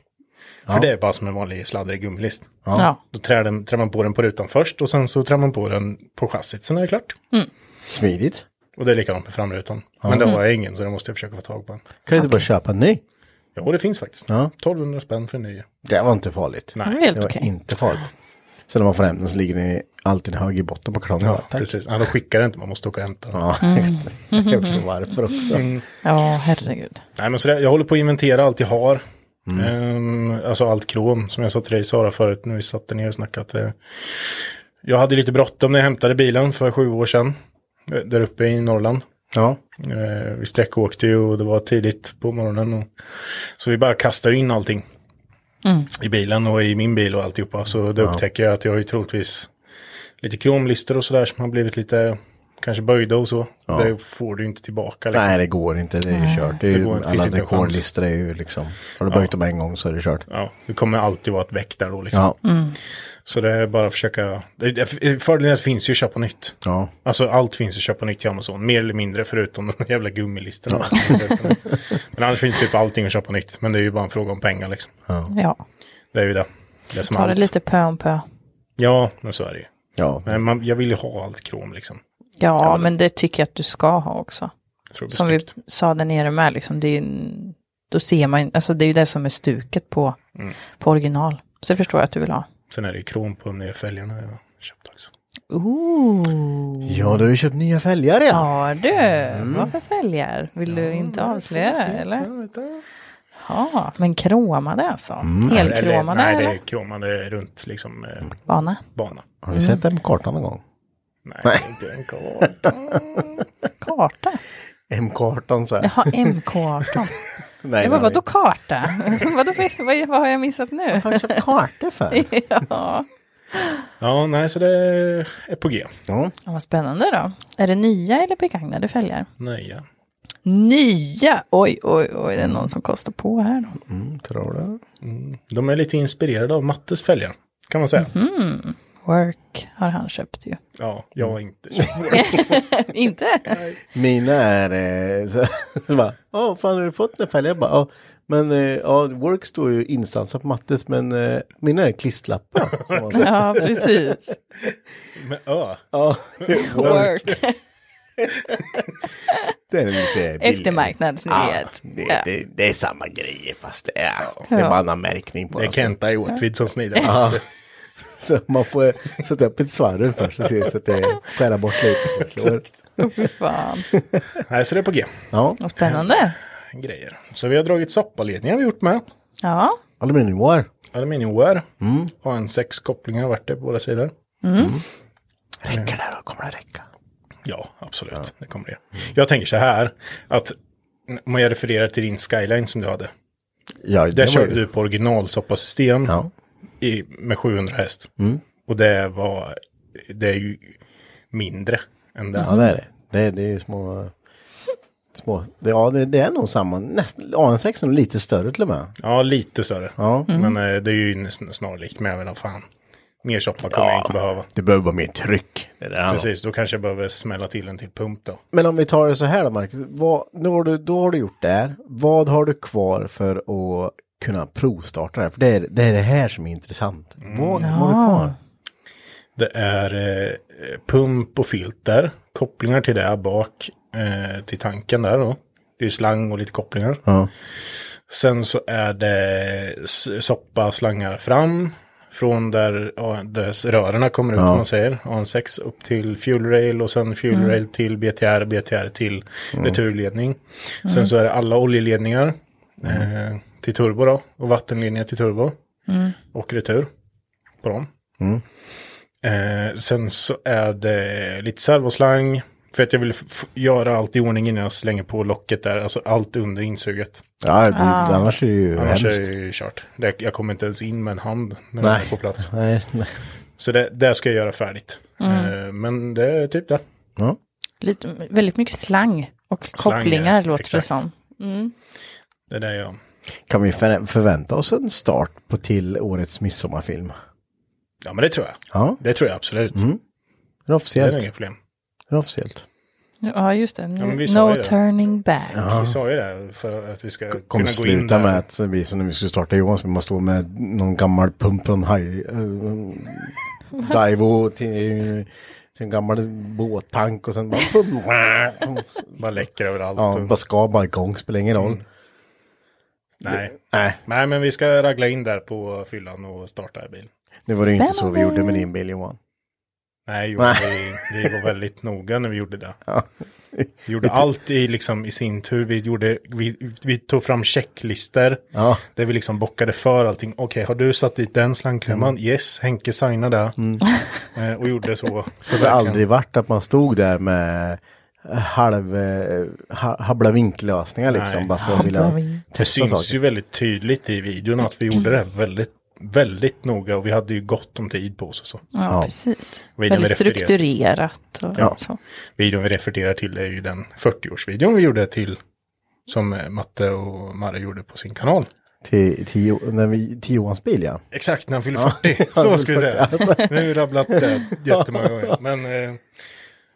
Speaker 3: För det är bara som en vanlig sladdrig gummilist.
Speaker 1: Ja.
Speaker 3: Då trär, den, trär man på den på rutan först och sen så trär man på den på chassit, sen är det klart.
Speaker 2: Smidigt.
Speaker 3: Och det är likadant med framrutan. Men det
Speaker 2: Mm.
Speaker 3: har jag ingen så det måste jag försöka få tag på.
Speaker 2: Kan du inte bara köpa en ny?
Speaker 3: Ja, och det finns faktiskt.
Speaker 2: Ja.
Speaker 3: 1200 spänn för en ny.
Speaker 2: Det var inte farligt.
Speaker 1: Det var helt
Speaker 2: Det var
Speaker 1: okej.
Speaker 2: inte farligt. Sen när man får hem den så ligger den i- alltid hög i botten på kartongen.
Speaker 3: Ja,
Speaker 2: Tack.
Speaker 3: precis. Ja, de skickar det inte, man måste åka och hämta den.
Speaker 2: Ja, mm. jag förstår varför också.
Speaker 3: Mm.
Speaker 1: Ja, herregud.
Speaker 3: Nej, men så det, jag håller på att inventera allt jag har.
Speaker 2: Mm.
Speaker 3: Ehm, alltså allt krom, som jag sa till dig Sara förut när vi satt ner och snackade. att, eh, jag hade lite bråttom när jag hämtade bilen för sju år sedan. eh, Där uppe i Norrland.
Speaker 2: Ja.
Speaker 3: Eh, vi sträckåkte ju och det var tidigt på morgonen. Och, så vi bara kastade in allting. i bilen och i min bil och alltihopa. Så då upptäcker jag att jag har ju troligtvis lite kromlister och sådär som har blivit lite kanske böjda och så. Det får du ju inte tillbaka. Liksom.
Speaker 2: Nej, det går inte. Det är ju kört. Det är
Speaker 3: Det
Speaker 2: ju,
Speaker 3: går inte, finns
Speaker 2: alla
Speaker 3: inte en chans.
Speaker 2: rekordlistor är ju liksom. Har du böjt dem en gång så är det kört.
Speaker 3: Ja, du kommer alltid vara ett väck där då liksom.
Speaker 2: Ja.
Speaker 1: Mm.
Speaker 3: Så det är bara att försöka. det- det- Fördelen är att det finns ju att köpa nytt.
Speaker 2: ja.
Speaker 3: Alltså allt finns att köpa nytt i Amazon, mer eller mindre förutom de jävla gummilistorna. Men annars finns typ allting att köpa nytt. Men det är ju bara en fråga om pengar liksom.
Speaker 1: Ja,
Speaker 3: Det är ju det. Det är som
Speaker 1: ta det
Speaker 3: allt.
Speaker 1: lite pö om pö.
Speaker 3: Ja, men så är det ju.
Speaker 2: Ja.
Speaker 3: Men man, jag vill ju ha allt krom liksom.
Speaker 1: Ja, men det tycker jag att du ska ha också.
Speaker 3: Jag tror det blir
Speaker 1: Som vi
Speaker 3: snyggt.
Speaker 1: sa där nere med, liksom, det är, ju- då ser man, alltså det är ju det som är stuket på,
Speaker 3: Mm.
Speaker 1: på original. Så det förstår jag att du vill ha.
Speaker 3: Sen är det ju krom på de nya fälgarna jag har köpt också.
Speaker 1: Ooh.
Speaker 2: ja, du har ju köpt nya fälgar ja.
Speaker 1: Ja du,
Speaker 3: Mm.
Speaker 1: vad för fälgar? Vill du inte avslöja det, eller? Ja, men kromade alltså? Helkromade
Speaker 3: Mm. nej,
Speaker 1: eller?
Speaker 3: det är kromade runt liksom eh,
Speaker 1: Bana?
Speaker 3: bana.
Speaker 2: Har
Speaker 1: Mm.
Speaker 2: du sett den kartan någon gång?
Speaker 3: Nej, inte en karta.
Speaker 1: Karta?
Speaker 2: M-kartan så här.
Speaker 1: Jaha, MK18.
Speaker 2: Nej,
Speaker 1: Jag bara, vadå karta? vadå, för- vad, vad har jag missat nu?
Speaker 2: Har du köpt kartor för?
Speaker 1: ja.
Speaker 3: Ja, nej, så det är på G.
Speaker 2: ja.
Speaker 1: Ja, Vad spännande då. Är det nya eller begagnade fälgar?
Speaker 3: Nej, ja.
Speaker 1: Nya! Oj, oj, oj, det är någon som kostar på här då.
Speaker 2: Mm, tror du?
Speaker 3: De är lite inspirerade av Mattes fälgar, kan man säga.
Speaker 2: Mhm.
Speaker 1: Work har han köpt ju.
Speaker 3: Ja, jag har inte köpt.
Speaker 1: Inte?
Speaker 2: Mina är eh, så, så bara, åh fan har du fått den fälgar? Jag bara, "Ja, men eh, ja, work står ju instansat på mattes men eh, mina är klistlappar. som man säger.
Speaker 1: Ja, precis.
Speaker 3: Med Ö.
Speaker 2: ja,
Speaker 1: Work.
Speaker 2: det är lite billigare.
Speaker 1: Eftermarknadsnyhet.
Speaker 2: det,
Speaker 1: Ja.
Speaker 2: det, det är samma grejer fast det är, det är bara annan märkning på
Speaker 3: Det är
Speaker 2: dem.
Speaker 3: Kenta i Åtvid som snider.
Speaker 2: Så man får sätta upp ett svarv först så ses att det skära bort lite. Så slår.
Speaker 1: Åh, Fy fan.
Speaker 3: Nej, så det är på G.
Speaker 2: Ja,
Speaker 1: Vad spännande.
Speaker 3: Grejer. Så vi har dragit soppaledningar vi gjort med.
Speaker 1: Ja,
Speaker 2: aluminiumwire.
Speaker 3: Aluminiumware. AN6 kopplingar vart det på båda sidor.
Speaker 2: Mm.
Speaker 3: Mm.
Speaker 2: Räcker det då? Kommer det räcka?
Speaker 3: Ja, absolut. Det kommer det. Jag tänker så här, att om jag refererar till din skyline som du hade.
Speaker 2: Ja, det
Speaker 3: Där
Speaker 2: var
Speaker 3: körde
Speaker 2: ju-
Speaker 3: du på originalsoppasystem
Speaker 2: Ja. Mm.
Speaker 3: i, med 700 häst. Och det var, det är ju mindre än det.
Speaker 2: Ja, det är det. Det är, det är små... små det, ja, det, det är nog samma. Nästan, AN6 är nog lite större till och med.
Speaker 3: Ja, lite större.
Speaker 2: Ja. Mm.
Speaker 3: Men eh, det är ju sn- snarlikt, men jag vet inte, fan. Mer soppa kommer jag inte behöva.
Speaker 2: Du behöver bara mer tryck. Det är det han har.
Speaker 3: Precis, då kanske jag behöver smälla till en till pump då.
Speaker 2: Men om vi tar det så här då, Marcus. Vad, nu har du, då har du gjort det här. Vad har du kvar för att kunna provstarta det här? För det är det, är det här som är intressant.
Speaker 3: Mm.
Speaker 2: Vad har du kvar?
Speaker 3: Det är eh, pump och filter, kopplingar till det bak eh, till tanken där då. Det är ju slang och lite kopplingar.
Speaker 2: Ja.
Speaker 3: Sen så är det s- soppa slangar fram från där, ja, där rören kommer ut, om man säger. AN6 upp till fuel rail och sen fuel rail till BTR, BTR till returledning. Sen så är det alla oljeledningar eh, till turbo då, och vattenlinjer till turbo. Och retur på dem. Eh, sen så är det lite servoslang. För att jag vill f- f- göra allt i ordning innan jag slänger på locket där. Alltså allt under insuget.
Speaker 2: ja, det, annars är det ju
Speaker 3: Annars
Speaker 2: hemskt.
Speaker 3: är det ju kört. Det, jag kommer inte ens in med en hand när den
Speaker 2: Nej.
Speaker 3: är på plats.
Speaker 2: Nej, nej.
Speaker 3: Så det, det ska jag göra färdigt. Eh, Men det är typ det.
Speaker 2: Ja.
Speaker 1: lite, väldigt mycket slang och kopplingar
Speaker 3: ja,
Speaker 1: låter
Speaker 3: exakt.
Speaker 1: det som.
Speaker 3: Det är det jag...
Speaker 2: Kan vi förvä- förvänta oss en start på till årets midsommarfilm?
Speaker 3: Ja men det tror jag.
Speaker 2: Ja,
Speaker 3: Det tror jag absolut.
Speaker 2: Mm, det är
Speaker 3: Det är
Speaker 2: officiellt.
Speaker 3: inga problem.
Speaker 2: Det är officiellt.
Speaker 1: Ja, just det. Nu,
Speaker 3: men vi sa
Speaker 1: no
Speaker 3: ju det.
Speaker 1: turning back.
Speaker 3: Vi sa ju det för att vi ska
Speaker 2: kommer
Speaker 3: kunna gå in
Speaker 2: sluta
Speaker 3: där.
Speaker 2: med att vi som när vi skulle starta Johan så vi måste stå med någon gammal pump från haj... Uh, Daivo till, eh, till en gammal båttank och sen bara...
Speaker 3: Bara läcker överallt.
Speaker 2: ja,
Speaker 3: och,
Speaker 2: bara ska bara igång, spelar ingen
Speaker 3: Mm.
Speaker 2: roll.
Speaker 3: nej.
Speaker 2: Nej,
Speaker 3: nej men vi ska ragla in där på fyllan och starta en bil.
Speaker 2: det var det ju inte så vi
Speaker 1: Spännande.
Speaker 2: gjorde med din bil Johan.
Speaker 3: Nej, jo,
Speaker 2: Nej.
Speaker 3: Vi, vi var väldigt noga när vi gjorde det.
Speaker 2: Ja.
Speaker 3: Vi gjorde allt i, liksom, i sin tur. Vi, gjorde, vi, vi tog fram checklister
Speaker 2: Ja.
Speaker 3: där vi liksom bockade för allting. Okej, har du satt dit den slangklämman?
Speaker 2: Mm.
Speaker 3: Yes, Henke signade det. Eh, och gjorde så.
Speaker 2: Så det har aldrig varit att man stod där med halv, eh, ha, habbla vinklösningar liksom.
Speaker 3: Nej.
Speaker 2: Bara för att vilja
Speaker 3: Det
Speaker 2: testa
Speaker 3: syns
Speaker 2: saker.
Speaker 3: ju väldigt tydligt i videon att vi gjorde det här väldigt, väldigt noga och vi hade ju gott om tid på oss och så.
Speaker 1: Ja,
Speaker 2: Ja.
Speaker 1: precis.
Speaker 3: Videon
Speaker 1: Väldigt
Speaker 3: refererar-
Speaker 1: strukturerat. Och
Speaker 3: Ja.
Speaker 1: så.
Speaker 3: Videon vi refererar till är ju den 40-årsvideon vi gjorde till som eh, Matte och Marre gjorde på sin kanal.
Speaker 2: Till, till, Jo- när vi, till Johans bil ja.
Speaker 3: Exakt, när han fyllde 40. Så ska vi säga. Nu har vi rabblat det jättemånga gånger. Men eh,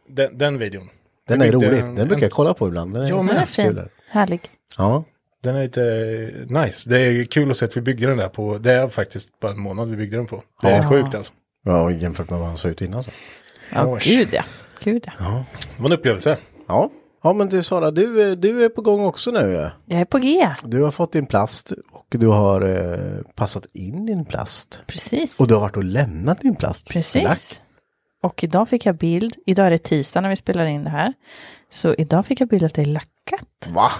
Speaker 3: den, den videon.
Speaker 2: Den är
Speaker 3: tyckte
Speaker 2: rolig.
Speaker 3: en-
Speaker 2: Den brukar jag kolla på ibland. Den är,
Speaker 3: Ja, men
Speaker 1: Den är
Speaker 2: kul.
Speaker 1: fin. Härlig.
Speaker 2: Ja.
Speaker 3: Den är lite eh, nice. Det är kul att se att vi byggde den där på. Det är faktiskt bara en månad vi byggde den på. Det är
Speaker 2: Ja.
Speaker 3: sjukt alltså.
Speaker 2: ja, jämfört med vad han såg ut innan. Så.
Speaker 1: Ja,
Speaker 3: Oj.
Speaker 1: gud ja. Gud ja.
Speaker 3: Det var en upplevelse.
Speaker 2: Ja. ja, men du Sara, du, eh, du är på gång också nu. eh.
Speaker 1: Jag är på G.
Speaker 2: Du har fått din plast och du har eh, passat in din plast.
Speaker 1: Precis.
Speaker 2: Och du har varit och lämnat din plast. Lack.
Speaker 1: Precis. Och idag fick jag bild. Idag är det tisdag när vi spelar in det här. Så idag fick jag bild att det är lackat.
Speaker 2: Va?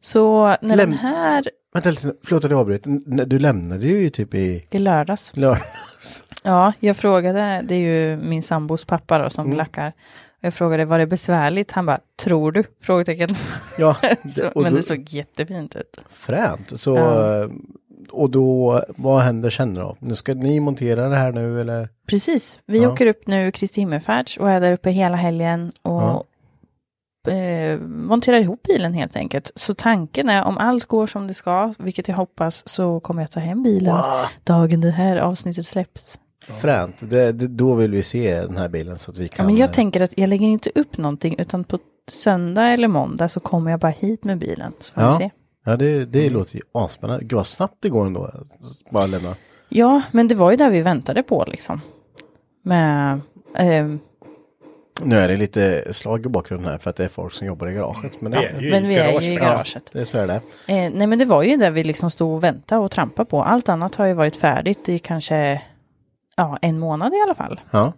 Speaker 1: Så när
Speaker 2: Läm-
Speaker 1: den här
Speaker 2: Vänta lite, förlåt att jag avbröt. N- Du lämnade ju typ i
Speaker 1: i lördags.
Speaker 2: lördags.
Speaker 1: Ja, jag frågade, det är ju min sambos pappa då som
Speaker 2: Mm.
Speaker 1: lackar. Jag frågade, var det besvärligt? Han bara, tror du? Frågetecken.
Speaker 2: Ja,
Speaker 1: Så,
Speaker 2: och
Speaker 1: men
Speaker 2: då-
Speaker 1: det såg jättefint ut.
Speaker 2: Fränt. Så,
Speaker 1: Ja.
Speaker 2: eh, och då, vad händer sen då? Nu ska ni montera det här nu eller?
Speaker 1: Precis, vi
Speaker 2: Ja.
Speaker 1: åker upp nu Kristi himmelfärds och är där uppe hela helgen
Speaker 2: Ja.
Speaker 1: och eh, monterar ihop bilen helt enkelt. Så tanken är om allt går som det ska, vilket jag hoppas, så kommer jag ta hem bilen dagen det här avsnittet släpps.
Speaker 2: Fränt. Det, det, då vill vi se den här bilen så att vi
Speaker 1: Ja,
Speaker 2: kan.
Speaker 1: men jag
Speaker 2: eh,
Speaker 1: tänker att jag lägger inte upp någonting utan på söndag eller måndag så kommer jag bara hit med bilen. Så får vi
Speaker 2: Ja.
Speaker 1: se.
Speaker 2: Ja, det, det
Speaker 1: Mm.
Speaker 2: låter ju asspännande. Gud vad snabbt det går ändå. Bara lämna.
Speaker 1: Ja, men det var ju där vi väntade på liksom. Med, ehm,
Speaker 2: Nu är det lite slag i bakgrunden här för att det är folk som jobbar i garaget. Men
Speaker 3: Det
Speaker 2: ja,
Speaker 3: är ju
Speaker 1: men vi är ju i
Speaker 3: garaget.
Speaker 1: garaget.
Speaker 2: det, så är det.
Speaker 1: Eh, nej men det var ju där vi liksom stod och väntade och trampade på. Allt annat har ju varit färdigt i kanske ja, en månad i alla fall.
Speaker 2: Ja.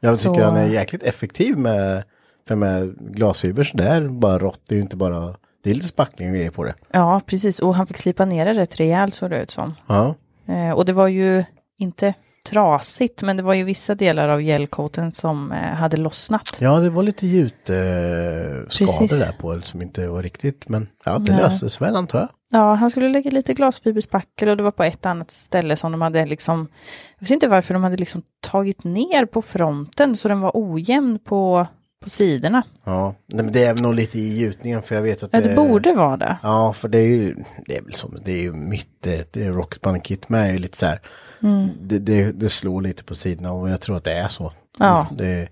Speaker 2: Jag tycker
Speaker 1: Så-
Speaker 2: han är jäkligt effektiv med, för med glasfiber så det är bara rått. Det är ju inte bara, det är lite spackling och grejer på det.
Speaker 1: Ja precis och han fick slipa ner det rätt rejält såg det ut som.
Speaker 2: Ja.
Speaker 1: Eh, och det var ju inte trasigt men det var ju vissa delar av gällkoten som eh, hade lossnat.
Speaker 2: Ja, det var lite gjutskador eh, skador
Speaker 1: Precis.
Speaker 2: där på som inte var riktigt. Men ja, det
Speaker 1: Nej.
Speaker 2: löstes väl antar jag.
Speaker 1: Ja, han skulle lägga lite glasfiberspackel och det var på ett annat ställe som de hade liksom, jag vet inte varför de hade liksom tagit ner på fronten så den var ojämn på, på sidorna.
Speaker 2: Ja, Nej, men det är nog lite i gjutningen för jag vet att
Speaker 1: Ja, det borde vara det.
Speaker 2: Ja, för det är ju, det är väl som, det är ju mitt, eh, det är Rocketband-kit med är ju lite så här.
Speaker 1: Mm.
Speaker 2: Det, det, det slår lite på sidorna och jag tror att det är så.
Speaker 1: Ja.
Speaker 2: Det,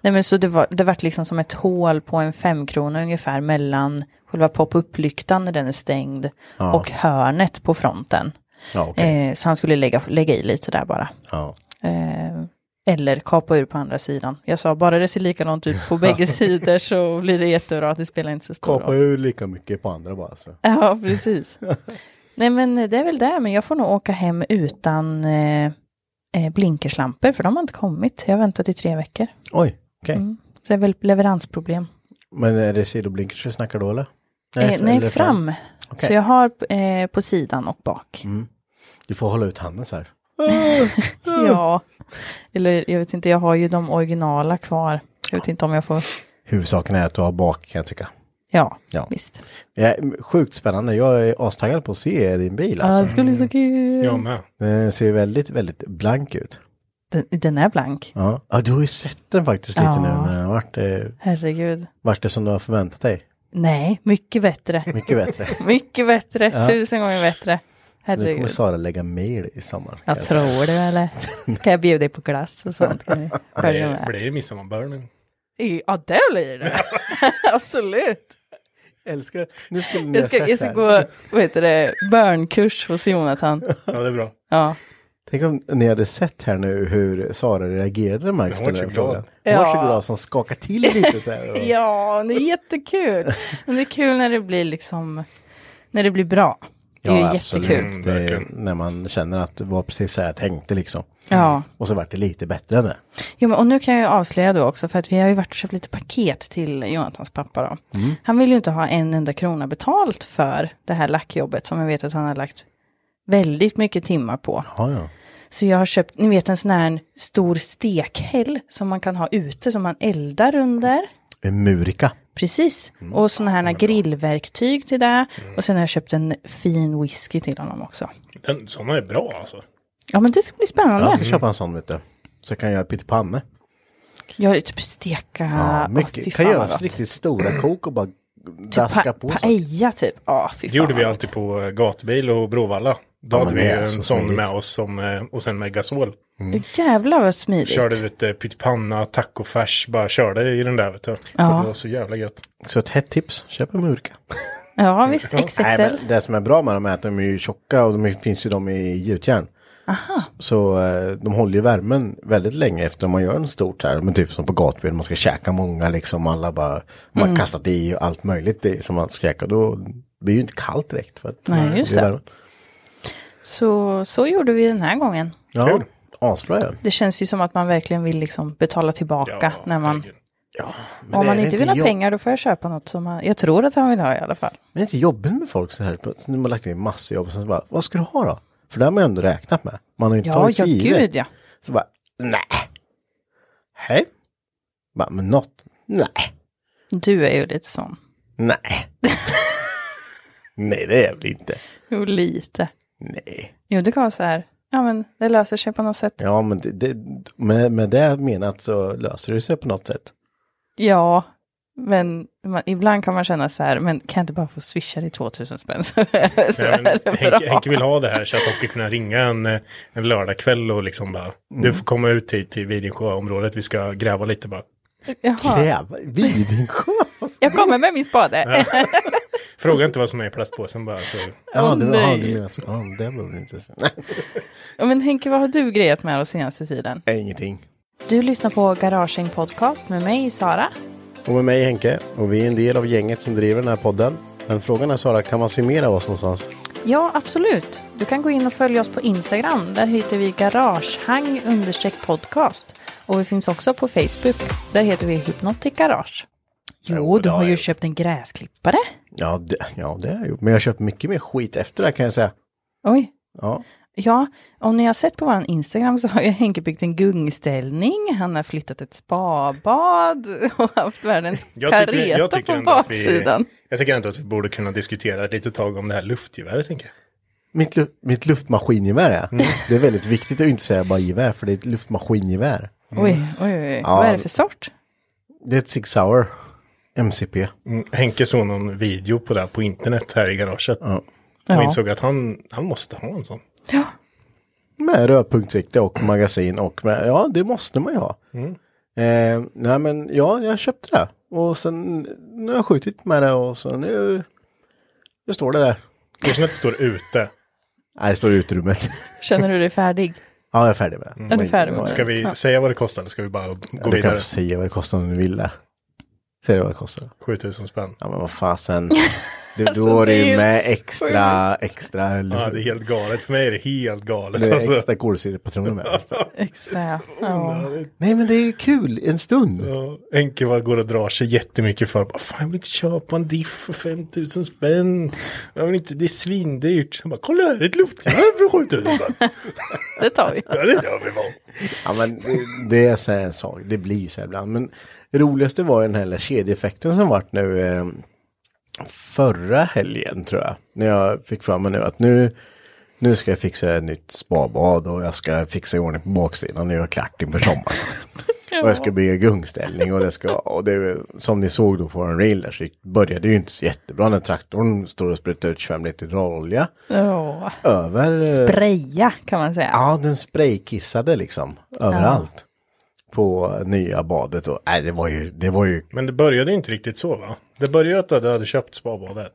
Speaker 1: Nej men så det var, det vart liksom som ett hål på en femkrona ungefär mellan själva pop-up-lyktan när den är stängd och hörnet på fronten.
Speaker 2: ja, okej.
Speaker 1: Eh, så han skulle lägga, lägga i lite där bara.
Speaker 2: ja.
Speaker 1: Eh, eller kapa ur på andra sidan. Jag sa bara det ser likadant ut på bägge sidor så blir det jättebra, det spelar inte så stor
Speaker 2: Kapar
Speaker 1: roll.
Speaker 2: ju lika mycket på andra bara så.
Speaker 1: Ja, precis. Nej men det är väl det, men jag får nog åka hem utan eh, eh, blinkerslampor för de har inte kommit. Jag har väntat i tre veckor.
Speaker 2: Oj, okej.
Speaker 1: Så det är väl leveransproblem.
Speaker 2: Men är det sidoblinkers vi snackar då eller?
Speaker 1: Nej, Eh, nej
Speaker 2: eller
Speaker 1: fram.
Speaker 2: Okej.
Speaker 1: Så jag har eh, på sidan och bak.
Speaker 2: Mm. Du får hålla ut handen så här.
Speaker 1: Ja, eller jag vet inte, jag har ju de originala kvar. Jag vet inte om jag får,
Speaker 2: Huvudsaken är att du har bak kan jag tycka.
Speaker 1: ja,
Speaker 2: Ja.
Speaker 1: visst.
Speaker 2: Ja, sjukt spännande. Jag är astaggad på att se din bil
Speaker 1: Ja, det
Speaker 2: alltså.
Speaker 1: ska bli så kul.
Speaker 3: Jag med.
Speaker 2: Den ser väldigt, väldigt blank ut.
Speaker 1: Den, den är blank,
Speaker 2: Ja, ja du har ju sett den faktiskt lite
Speaker 1: Ja.
Speaker 2: nu när den har varit, eh,
Speaker 1: herregud.
Speaker 2: varit det som du har förväntat dig.
Speaker 1: Nej, mycket bättre.
Speaker 2: Mycket bättre.
Speaker 1: Mycket bättre, tusen gånger bättre.
Speaker 2: Så nu kommer
Speaker 1: Herregud.
Speaker 2: Sara lägga mail i sommar.
Speaker 1: Jag tror det eller? Kan jag bjuda dig på glass och sånt? Kan ni följa
Speaker 3: Det
Speaker 1: med?
Speaker 3: blir midsommarbörnen.
Speaker 1: Ja, det blir det. Absolut.
Speaker 2: älskar det. Nu skulle ni
Speaker 1: Jag
Speaker 2: ha
Speaker 1: ska,
Speaker 2: sett
Speaker 1: jag ska
Speaker 2: det här.
Speaker 1: gå, vad heter det, börnkurs hos Jonathan.
Speaker 3: Ja, det är bra.
Speaker 1: Ja.
Speaker 2: Tänk om ni hade sett här nu hur Sara reagerade när Mark
Speaker 3: Hon
Speaker 2: ställde
Speaker 3: var så
Speaker 2: den
Speaker 3: glad.
Speaker 2: frågan. Hon var så
Speaker 1: Ja.
Speaker 2: glad som skakade till lite så här. Och,
Speaker 1: Ja, det är jättekul. Men det är kul när det blir liksom, när det blir bra. Det är ju jättekul.
Speaker 3: Mm,
Speaker 2: absolut. Mm. Det är, när man känner att det var precis så här jag tänkte liksom.
Speaker 1: Ja.
Speaker 2: Och så vart det lite bättre än det.
Speaker 1: Jo, men, och nu kan jag ju avslöja då också, för att vi har ju varit och köpt lite paket till Jonathans pappa då. Han vill ju inte ha en enda krona betalt för det här lackjobbet som jag vet att han har lagt väldigt mycket timmar på.
Speaker 2: Ja, ja.
Speaker 1: Så jag har köpt, ni vet en sån här stor stekhäll som man kan ha ute, som man eldar under.
Speaker 2: En murika.
Speaker 1: Precis.
Speaker 2: Mm.
Speaker 1: Och sådana här grillverktyg till det. Och sen har jag köpt en fin whisky till honom också.
Speaker 3: Den, sådana är bra alltså.
Speaker 1: Ja men det ska bli spännande.
Speaker 2: Jag ska köpa en sån vet du. Så jag kan göra pyttipanne.
Speaker 1: Jag typ steka.
Speaker 2: Ja,
Speaker 1: Åh, fy
Speaker 2: mycket.
Speaker 1: fan
Speaker 2: kan göra
Speaker 1: vad gott. Typ
Speaker 2: riktigt stora kok och bara
Speaker 1: pa-
Speaker 2: daska på. saker.
Speaker 1: Paella typ. Ja, fy
Speaker 3: Det gjorde
Speaker 1: fan
Speaker 3: vi
Speaker 1: vad
Speaker 3: alltid på eh, gatbil och Bråvalla. Då
Speaker 2: Ja,
Speaker 3: hade
Speaker 2: men
Speaker 3: vi
Speaker 2: det är
Speaker 3: ju en
Speaker 2: så
Speaker 3: sån
Speaker 2: smidigt.
Speaker 3: med oss som, eh, och sen med gasol.
Speaker 2: Mm.
Speaker 1: gott. Jävlar vad smidigt.
Speaker 3: Körde ut eh, pyttipanna, tacofärs, bara körde i den där vet du.
Speaker 1: Ja.
Speaker 3: Det var så jävla gött.
Speaker 2: Så ett hett tips, köp en murika.
Speaker 1: Ja visst, XXL.
Speaker 2: Nej, men det som är bra med dem är att de är ju tjocka och de är, finns ju de i gjutjärn. Så eh, de håller ju värmen väldigt länge efter man gör något stort här. Men typ som på gatbil, man ska käka många liksom. Alla bara, man
Speaker 1: Mm.
Speaker 2: har kastat i och allt möjligt i, som man ska käka. Då blir det ju inte kallt direkt. För att
Speaker 1: Nej, just
Speaker 2: är
Speaker 1: det.
Speaker 2: värmen.
Speaker 1: Så, så gjorde vi den här gången.
Speaker 2: Ja,
Speaker 3: Kul.
Speaker 2: asbra ja.
Speaker 1: Det känns ju som att man verkligen vill liksom betala tillbaka när man...
Speaker 3: herregud.
Speaker 2: Men
Speaker 1: Om
Speaker 2: är
Speaker 1: man
Speaker 2: det
Speaker 1: inte vill ha
Speaker 2: jobb-
Speaker 1: pengar då får jag köpa något som han, jag tror att han vill ha i alla fall.
Speaker 2: Men det är inte jobbigt med folk så här. Nu har man lagt in massor jobb och sen så bara, vad ska du ha då? För det har man ju ändå räknat med. Man har ju inte
Speaker 1: Ja,
Speaker 2: tagit
Speaker 1: ja
Speaker 2: för givet.
Speaker 1: gud ja.
Speaker 2: Så bara, nej. Hej. Bara, men något, nej.
Speaker 1: Du är ju lite sån.
Speaker 2: Nej. nej, det är jag väl inte.
Speaker 1: Jo, lite.
Speaker 2: Nej.
Speaker 1: Jo, det kan vara så här, ja men det löser sig på något sätt.
Speaker 2: Ja, men det, det, med, med det menat så löser det sig på något sätt.
Speaker 1: Ja, men man, ibland kan man känna så här, men kan jag inte bara få swisha dig 2000 spänn så är så
Speaker 3: Nej,
Speaker 1: är
Speaker 3: men
Speaker 1: det
Speaker 3: Henke,
Speaker 1: bra.
Speaker 3: Henke vill ha det här så att han ska kunna ringa en, eh, en lördagkväll och liksom bara,
Speaker 1: Mm.
Speaker 3: du får komma ut hit till Vidingsjöområdet, vi ska gräva lite bara.
Speaker 1: Jaha,
Speaker 2: Kräva Vidingsjö.
Speaker 1: jag kommer med min spade.
Speaker 3: Fråga inte vad som är i plastpåsen bara. Så.
Speaker 2: Ja,
Speaker 1: Åh,
Speaker 2: du, ja,
Speaker 1: nej.
Speaker 2: du menar så. Ja, det var väl inte så.
Speaker 1: Men Henke, vad har du grejat med den senaste tiden?
Speaker 2: Nej, ingenting.
Speaker 1: Du lyssnar på Garaging Podcast med mig, Sara.
Speaker 2: Och med mig Henke. Och vi är en del av gänget som driver den här podden. Men frågan är Sara, kan man summera oss någonstans?
Speaker 1: Ja, absolut. Du kan gå in och följa oss på Instagram. Där hittar vi garagehang podcast. Och vi finns också på Facebook. Där heter vi Hypnotic Garage. Jo, du har ju köpt en gräsklippare.
Speaker 2: Ja, det, ja, det har jag gjort. Men jag har köpt mycket mer skit efter det här, kan jag säga.
Speaker 1: Oj.
Speaker 2: Ja,
Speaker 1: Ja, om ni har sett på vår Instagram så har ju Henke byggt en gungställning, han har flyttat ett spabad och haft världens
Speaker 3: Jag
Speaker 1: kareta
Speaker 3: tycker, jag, tycker
Speaker 1: på
Speaker 3: ändå att vi,
Speaker 1: baksidan.
Speaker 3: jag tycker ändå att vi borde kunna diskutera ett litet tag om det här luftgeväret, tänker jag.
Speaker 2: Mitt, lu- mitt luftmaskingevär ja.
Speaker 1: Mm.
Speaker 2: Det är väldigt viktigt att inte säga bara gevär för det är ett luftmaskingevär.
Speaker 3: Mm.
Speaker 1: Oj, oj, oj.
Speaker 2: Ja.
Speaker 1: Vad är det för sort?
Speaker 2: Det är ett Sig Sauer MCP.
Speaker 3: Mm, Henke såg någon video på det här på internet här i garaget. Och
Speaker 1: Ja.
Speaker 3: insåg att han, han måste ha en sån.
Speaker 2: Med rödpunktssikte och magasin och med, ja det måste man ju ha.
Speaker 1: Mm.
Speaker 2: Eh, nej men ja, jag köpte det. Och sen nu har jag skjutit med det och så nu, nu står det där.
Speaker 3: Kanske att det står ute.
Speaker 2: Nej, det står i utrymmet.
Speaker 1: Känner du dig färdig?
Speaker 2: ja, jag är färdig med det.
Speaker 1: Mm. Är du färdig med
Speaker 3: Ska
Speaker 1: det?
Speaker 3: vi säga vad det kostar eller ska vi bara gå
Speaker 2: Du kan
Speaker 3: vidare?
Speaker 2: få säga vad det kostar om du vill det. Säg vad det kostar.
Speaker 3: 7000 spänn.
Speaker 2: Ja men vad fasen. Det, då är
Speaker 1: Alltså, det är
Speaker 2: det ju
Speaker 1: helt
Speaker 2: med extra, extra
Speaker 3: Ja, det är helt galet. För mig är det helt galet.
Speaker 2: Det är
Speaker 3: alltså.
Speaker 2: extra kolsyrepatroner med.
Speaker 1: Extra, ja. ja.
Speaker 2: Nej men det är ju kul en stund.
Speaker 3: Ja, Henke bara går och drar sig jättemycket för. Bara, Fan, jag vill inte köpa en diff för 5000 spänn. Jag vill inte, det är svindyrt. Han bara, kolla här, ett luftgevär för 7000 spänn.
Speaker 1: Det tar vi.
Speaker 3: Ja, det gör vi bara.
Speaker 2: Ja men det- det är så här en sak, det blir så här ibland. Men det roligaste var ju den här lilla kedjeeffekten som vart nu eh, förra helgen tror jag. När jag fick för mig nu att nu, nu ska jag fixa ett nytt spabad och jag ska fixa i ordning på baksidan och göra klart inför sommaren. Och jag ska bygga gungställning och det ska, och det, som ni såg då på en reel där så började det ju inte så jättebra när traktorn står och sprutar ut 25 liter olja
Speaker 1: Ja.
Speaker 2: över. eh,
Speaker 1: Spraya kan man säga.
Speaker 2: Ja, den spraykissade liksom överallt. På nya badet och nej, det var ju, det var ju,
Speaker 3: Men det började inte riktigt så va? Det började att du hade köpt spabadet.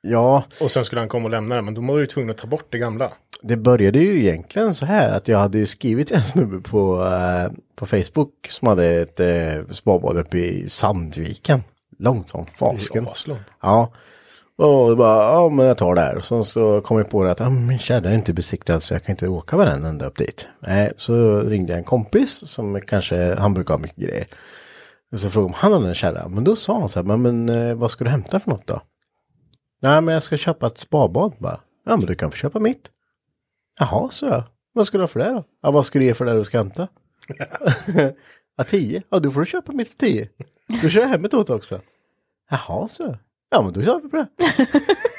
Speaker 2: ja,
Speaker 3: Och sen skulle han komma och lämna det. Men då var du tvungen att ta bort det gamla.
Speaker 2: det började ju egentligen så här att jag hade ju skrivit en snubbe på, eh, på Facebook som hade ett eh, spabad uppe i Sandviken. Långt som fasken.
Speaker 3: I Oslo.
Speaker 2: Ja. Och jag bara, ja men jag tar det här. Och sen så kom jag på det att, ja men min kärra är inte besiktad så jag kan inte åka med den ända upp dit. Nej, så ringde jag en kompis som kanske, han brukar ha mycket grejer. Och så frågade jag om han hade en kärra. Men då sa han så här, men, men eh, vad ska du hämta för något då? Nej men jag ska köpa ett spabad bara. Ja men du kan få köpa mitt. Jaha, så jag. Vad ska du ha för det då? Ja, vad ska du ge för det du ska hämta? Ja, 10? Ja, då får du köpa mitt för 10. Då kör jag hem ett åt också. Jaha, så. Ja, men då kör vi på det.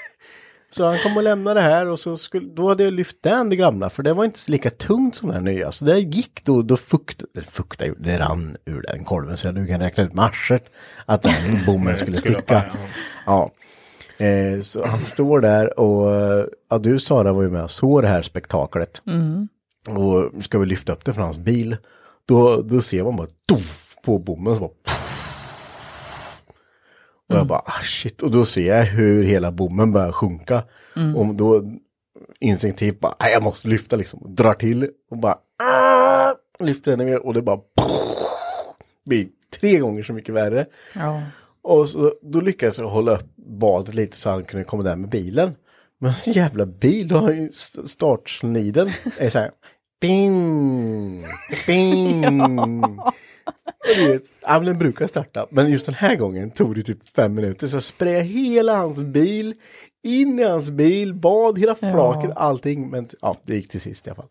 Speaker 2: så han kom och lämnade det här och så skulle, då hade jag lyft den det gamla för det var inte lika tungt som den nya. Så det gick då, då fukt, eller fukta, det rann ur den kolven så du kan räkna ut med arslet att den bommen skulle sticka.
Speaker 3: bara, ja.
Speaker 2: Ja. Eh, så han står där och eh, ja, du Sara var ju med och såg det här spektaklet. Och ska vi lyfta upp det från hans bil. Då, då ser man bara doff på bommen så bara och jag bara ah, shit. Och då ser jag hur hela bommen börjar sjunka. Och då instinktivt bara "Nej, jag måste lyfta liksom. Och Drar till och bara ah! lyfter den ner och det bara blir tre gånger så mycket värre.
Speaker 1: Ja.
Speaker 2: Och så, då lyckades jag hålla upp badet lite så han kunde komma där med bilen. Men hans jävla bil, då har ju st- startsliden är så här. Bing! Bing! Och du vet, ja, men den brukar starta. Men just den här gången tog det typ fem minuter. Så jag sprayade hela hans bil, in i hans bil, bad, hela flaket, allting. Men ja, det gick till sist i alla fall.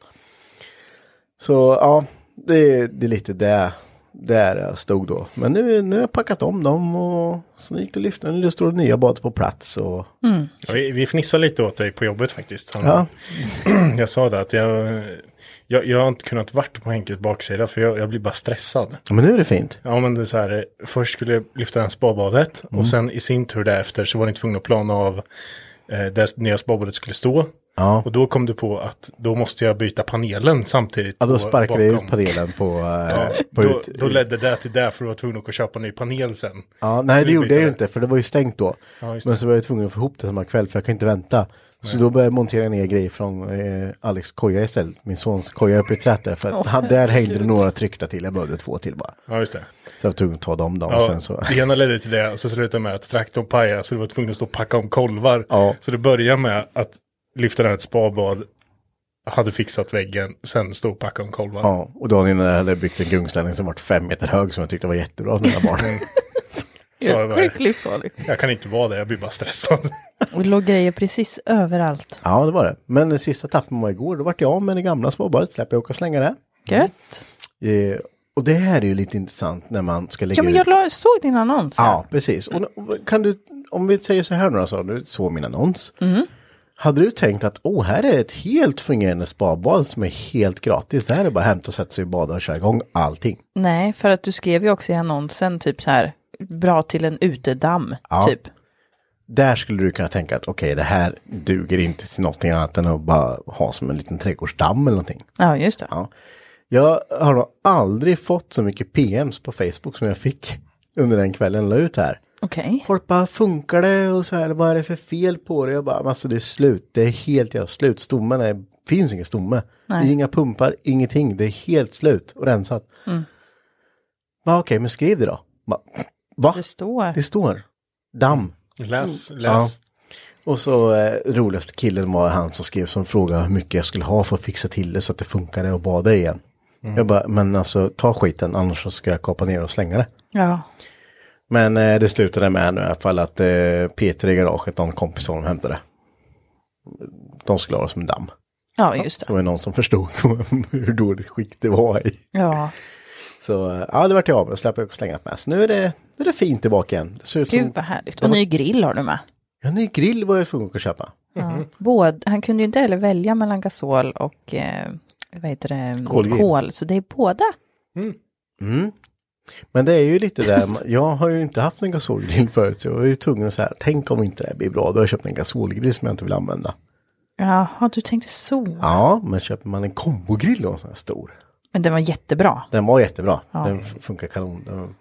Speaker 2: Så ja, det, det är lite det där jag stod då. Men nu, nu har jag packat om dem och så gick det och lyfte den. Nu står det nya badet på plats och
Speaker 3: Ja, Vi, vi fnissade lite åt dig på jobbet faktiskt. Han,
Speaker 2: ja.
Speaker 3: Jag sa det att jag, jag, jag har inte kunnat varit på Henkes baksida för jag, jag blir bara stressad.
Speaker 2: Men nu är det fint.
Speaker 3: Ja men det är så här, eh, först skulle jag lyfta det här spabadet
Speaker 2: Mm.
Speaker 3: och sen i sin tur därefter så var ni tvungna att plana av eh, där nya spabadet skulle stå.
Speaker 2: Ja.
Speaker 3: Och då kom du på att då måste jag byta panelen samtidigt.
Speaker 2: Ja, då
Speaker 3: på-
Speaker 2: sparkade jag ut
Speaker 3: bakom.
Speaker 2: panelen på...
Speaker 3: Ja,
Speaker 2: eh, på
Speaker 3: då,
Speaker 2: ut,
Speaker 3: då ledde det till det för du var tvungen att gå och köpa en ny panel sen.
Speaker 2: ja, nej, det
Speaker 3: Skulle
Speaker 2: gjorde
Speaker 3: byta
Speaker 2: jag ju
Speaker 3: det.
Speaker 2: inte för det var ju stängt då.
Speaker 3: Ja, just det.
Speaker 2: Men så var jag tvungen att få ihop det samma kväll för jag kan inte vänta. Så då började jag montera ner grejer från eh, Alex koja istället. Min sons koja uppe i trädet där, för att han- där hängde det några tryckta till. Jag behövde två till bara.
Speaker 3: Ja, just det.
Speaker 2: Så jag var tvungen att ta dem då.
Speaker 3: Ja,
Speaker 2: och sen så...
Speaker 3: Det ena ledde till det och så slutade med att traktorn pajade så du var tvungen att stå och packa om kolvar.
Speaker 2: Ja.
Speaker 3: Så det började med att lyfta ner ett spabad, hade fixat väggen, sen stå och packa om kolvar.
Speaker 2: Ja, och dagen innan jag hade byggt en gungställning som var fem meter hög som jag tyckte var jättebra för mina barn.
Speaker 3: Så jag, bara,
Speaker 1: Sjukt livsfarlig.
Speaker 3: jag kan inte vara där, jag blir bara stressad.
Speaker 1: Och det låg grejer precis överallt.
Speaker 2: ja, det var det. Men den sista tappen var igår, då vart jag av med det gamla småbadet, släpper jag åka och slänga det.
Speaker 1: Gött.
Speaker 2: Eh, och det här är ju lite intressant när man ska lägga
Speaker 1: Ja, men jag
Speaker 2: ut...
Speaker 1: la, såg din annons. här.
Speaker 2: Ja, precis. Och nu- kan du, om vi säger så här nu då, så du såg min annons.
Speaker 1: Mm.
Speaker 2: Hade du tänkt att, åh, här är ett helt fungerande spabad som är helt gratis. Det här är bara att hämta och sätta sig i bada och köra igång allting.
Speaker 1: Nej, för att du skrev ju också i annonsen typ så här, bra till en utedamm,
Speaker 2: Ja.
Speaker 1: typ.
Speaker 2: Där skulle du kunna tänka att okej, det här duger inte till någonting annat än att bara ha som en liten trädgårdsdamm eller någonting.
Speaker 1: Ja, just det.
Speaker 2: Jag har nog aldrig fått så mycket PMs på Facebook som jag fick under den kvällen jag la ut här.
Speaker 1: Okej.
Speaker 2: Folk bara, funkar det? Och så här, vad är det för fel på det? Jag bara, "Men alltså det är slut, det är helt jävla slut. Stommen är, finns ingen stomme. Det är inga pumpar, ingenting. Det är helt slut och rensat. Mm. Okej, men skriv det då. Bara, Va?
Speaker 1: Det står.
Speaker 2: Det står. Damm.
Speaker 3: Läs, läs.
Speaker 2: Ja. Och så eh, roligaste killen var han som skrev som frågade hur mycket jag skulle ha för att fixa till det så att det funkade och bada igen. Jag bara, men alltså ta skiten annars så ska jag kapa ner och slänga det.
Speaker 1: Ja.
Speaker 2: Men eh, det slutade med nu i alla fall att eh, Peter i garaget, någon kompis som hämtade det. De skulle ha det som en damm.
Speaker 1: ja, just
Speaker 2: Det
Speaker 1: det.
Speaker 2: var ju någon som förstod hur dåligt skick det var i.
Speaker 1: Ja.
Speaker 2: Så eh, ja, det vart jag av med, släppte jag och slänga med. Så nu är det, nu är det fint tillbaka igen. Det ser ut
Speaker 1: Gud
Speaker 2: som,
Speaker 1: vad härligt. Och ny grill har du med.
Speaker 2: ja, ny grill var jag tvungen att köpa.
Speaker 1: Ja.
Speaker 2: Mhm.
Speaker 1: Både, han kunde ju inte heller välja mellan gasol och eh, vad heter det?
Speaker 2: Kolgrill.
Speaker 1: kol, så det är båda.
Speaker 2: Mm. Men det är ju lite där, jag har ju inte haft en gasolgrill förut så jag är ju tvungen att säga, tänk om inte det här blir bra, då har jag köpt en gasolgrill som jag inte vill använda.
Speaker 1: Jaha, du tänkte så.
Speaker 2: Ja, men köper man en kombogrill då, en sån här stor,
Speaker 1: Men den var jättebra.
Speaker 2: den var jättebra, den f- funkar kanon. Den-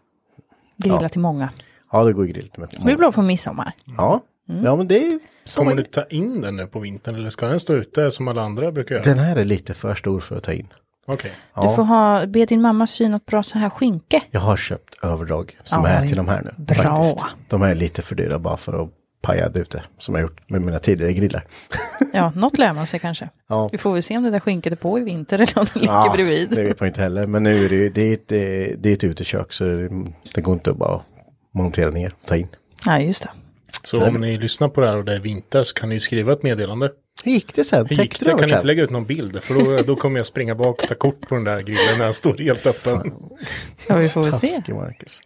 Speaker 1: Grilla till många.
Speaker 2: Ja, det går ju grill till mig.
Speaker 1: Det blir bra Mm. på midsommar.
Speaker 2: Ja. ja, men det är ju som
Speaker 3: Kommer
Speaker 2: en...
Speaker 3: du ta in den nu på vintern eller ska den stå ute som alla andra brukar göra?
Speaker 2: Den här är lite för stor för att ta in.
Speaker 3: Okej.
Speaker 1: Du får ha, be din mamma sy något bra så här skinke.
Speaker 2: Jag har köpt överdrag som
Speaker 1: Ja,
Speaker 2: är till de här nu.
Speaker 1: bra.
Speaker 2: De här är lite för dyra bara för att paja det ute, som jag gjort med mina tidigare grillar.
Speaker 1: Ja, något lär man sig kanske.
Speaker 2: Ja.
Speaker 1: Vi får väl se om det där skinket är på i vinter eller om det ligger
Speaker 2: Ja, Det
Speaker 1: bredvid.
Speaker 2: vet man inte heller. Men nu är det ju, det är ett, eh, det är ett utekök så det går inte att bara montera ner och ta in.
Speaker 1: Ja, just det.
Speaker 3: Så om ni lyssnar på det här och det är vinter så kan ni ju skriva ett meddelande.
Speaker 2: Hur gick det sen?
Speaker 3: Hur gick
Speaker 2: Täckte
Speaker 3: det?
Speaker 2: du
Speaker 3: Jag
Speaker 2: över
Speaker 3: kan
Speaker 2: sen?
Speaker 3: inte lägga ut någon bild för då, då kommer jag springa bak och ta kort på den där grillen när den står helt öppen.
Speaker 1: Ja, vi får väl se.
Speaker 2: Taskig Marcus.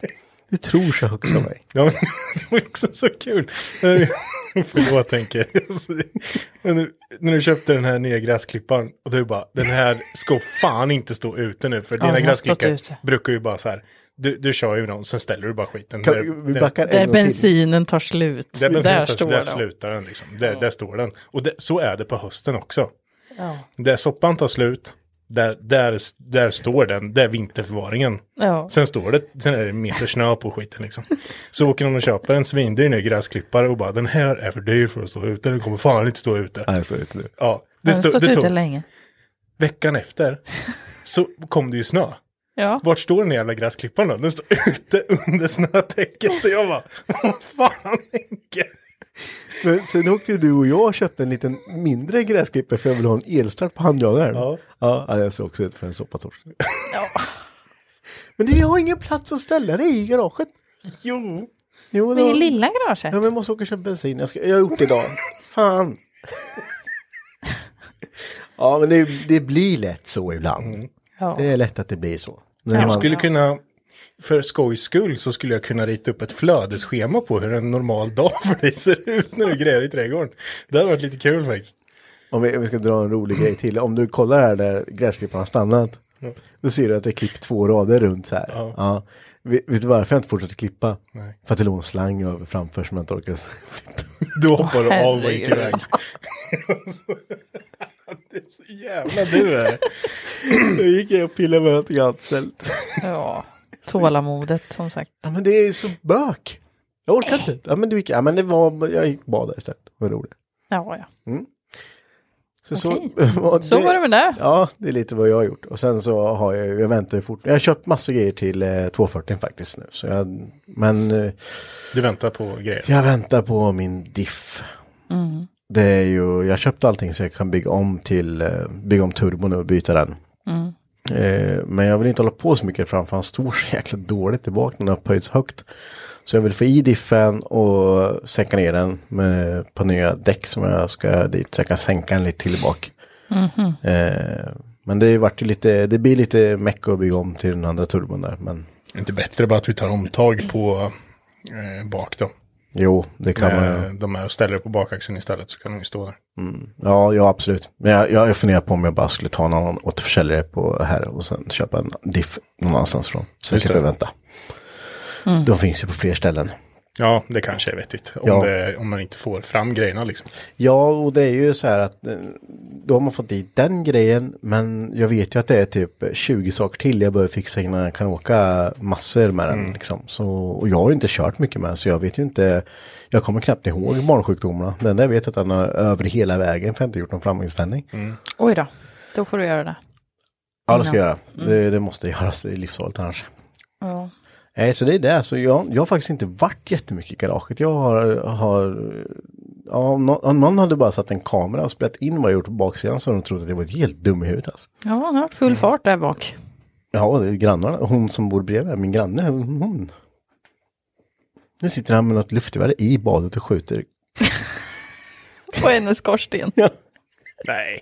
Speaker 2: Du tror så högt om mig.
Speaker 3: Ja, men, det var också så kul. Förlåt Henke. Men nu- När du köpte den här nya gräsklipparen och du bara, den här ska fan inte stå ute nu för
Speaker 1: den
Speaker 3: dina
Speaker 1: har stått
Speaker 3: gräsklippare
Speaker 1: ute.
Speaker 3: brukar ju bara så här, du, du kör ju någon, sen ställer du bara skiten.
Speaker 2: Kan, vi backar
Speaker 1: Där
Speaker 2: en gång till.
Speaker 1: bensinen tar slut.
Speaker 3: Där, där,
Speaker 1: där
Speaker 3: där,
Speaker 1: står
Speaker 3: där
Speaker 1: den.
Speaker 3: slutar den liksom. Där, där står den. Och det, så är det på hösten också. Där soppan tar slut, där, där, där står den, där är vinterförvaringen.
Speaker 1: Ja.
Speaker 3: Sen står det, sen är det en meter snö på skiten liksom. Så åker de och köper en svindyr ny gräsklippare och bara den här är för dyr för att stå ute, den kommer fan inte stå ute.
Speaker 2: Nej, jag står ute nu.
Speaker 3: Ja, det,
Speaker 1: Den har
Speaker 3: stod,
Speaker 1: stått
Speaker 3: det
Speaker 1: ute
Speaker 3: tog,
Speaker 1: länge.
Speaker 3: veckan efter så kom det ju snö.
Speaker 1: Ja.
Speaker 3: Vart står den jävla gräsklipparen då? Den står ute under snötäcket och jag bara, vad fan Henke?
Speaker 2: Men sen åkte ju du och jag och köpte en liten mindre gräsklippare för jag ville ha en elstart på handjagaren.
Speaker 3: Ja.
Speaker 2: Ja, ja, jag står också ut för en soppatorsk. Men vi har ingen plats att ställa dig i garaget.
Speaker 3: Jo,
Speaker 2: Jo,
Speaker 1: Men
Speaker 2: då-
Speaker 1: i lilla garaget.
Speaker 2: Ja, men jag måste åka och köpa bensin. Jag, ska, jag har gjort det idag. Fan. ja, men det, det blir lätt så ibland.
Speaker 1: Ja.
Speaker 2: Det är lätt att det blir så. Men
Speaker 3: Mm. jag
Speaker 2: man-
Speaker 3: skulle kunna, för skojs skull så skulle jag kunna rita upp ett flödesschema på hur en normal dag för dig ser ut när du gräver i trädgården. Det hade varit lite kul faktiskt.
Speaker 2: Om vi, om vi ska dra en rolig grej till. Om du kollar här där gräsklipparen har stannat. Då ser du att det är klippt två rader runt så här. Ja. Vet, vet du varför jag inte fortsatte klippa?
Speaker 3: Nej.
Speaker 2: För att det låg en slang över framför som jag inte orkade.
Speaker 3: Då hoppar du av och gick
Speaker 1: herregud.
Speaker 3: iväg. det är så jävla du är.
Speaker 2: Då gick jag och pillade med någonting annat istället.
Speaker 1: Ja. Tålamodet som sagt.
Speaker 2: Ja men det är så bök. Jag orkar inte. Ja men, du gick, ja, men det var, jag gick och badade istället. Det var roligt.
Speaker 1: Ja, ja.
Speaker 2: Så,
Speaker 1: Okej.
Speaker 2: var
Speaker 1: Så var det med det.
Speaker 2: Ja, det är lite vad jag har gjort. Och sen så har jag, jag väntar ju fort. Jag har köpt massa grejer till eh, 240 faktiskt nu. Så jag, men eh,
Speaker 3: Du väntar på grejer.
Speaker 2: Jag väntar på min diff. Det är ju, jag köpte allting så jag kan bygga om till, eh, bygga om turbon och byta den. Eh, Men jag vill inte hålla på så mycket framför han står så jäkla dåligt i bak, den har upphöjts högt. Så jag vill få i diffen och sänka ner den med ett par nya däck som jag ska dit så jag kan sänka den lite till i bak. Eh, Men det, vart ju lite, det blir lite meck att bygga om till den andra turbon där. Men
Speaker 3: Inte bättre bara att vi tar omtag på eh, bak då.
Speaker 2: jo, det kan man ju.
Speaker 3: Eh, de här ställer det på bakaxeln istället så kan de ju stå där.
Speaker 2: Ja, ja absolut. Men jag, jag funderar på om jag bara skulle ta någon återförsäljare på här och sen köpa en diff någon annanstans från. Så jag
Speaker 3: Just
Speaker 2: slipper
Speaker 3: det.
Speaker 2: vänta. De finns ju på fler ställen.
Speaker 3: Ja, det kanske är vettigt. Om,
Speaker 2: Ja.
Speaker 3: det, om man inte får fram grejerna liksom.
Speaker 2: Ja, och det är ju så här att eh, då har man fått dit den grejen, men jag vet ju att det är typ 20 saker till jag behöver fixa innan jag kan åka massor med
Speaker 3: Mm.
Speaker 2: den. Liksom. Så, och jag har ju inte kört mycket med den, så jag vet ju inte, jag kommer knappt ihåg barnsjukdomarna. Den där vet jag att den har över hela vägen, för jag har inte gjort någon framgångsställning.
Speaker 1: Oj då. Då får du göra det.
Speaker 2: Ja, det ska jag göra. Det, det måste göras, det är livsfarligt annars.
Speaker 1: Ja.
Speaker 2: Nej, så det är det. Så jag, jag har faktiskt inte varit jättemycket i garaget. Jag har, har ja, om, någon, om någon hade bara satt en kamera och spelat in vad jag gjort på baksidan så hade de trott att jag var helt dum i huvudet. Alltså.
Speaker 1: Ja, han har varit full fart där bak.
Speaker 2: Ja, det är grannarna. Hon som bor bredvid, min granne, hon- hon. Nu sitter han med något luftgevär i badet och skjuter.
Speaker 1: På hennes skorsten.
Speaker 3: Nej.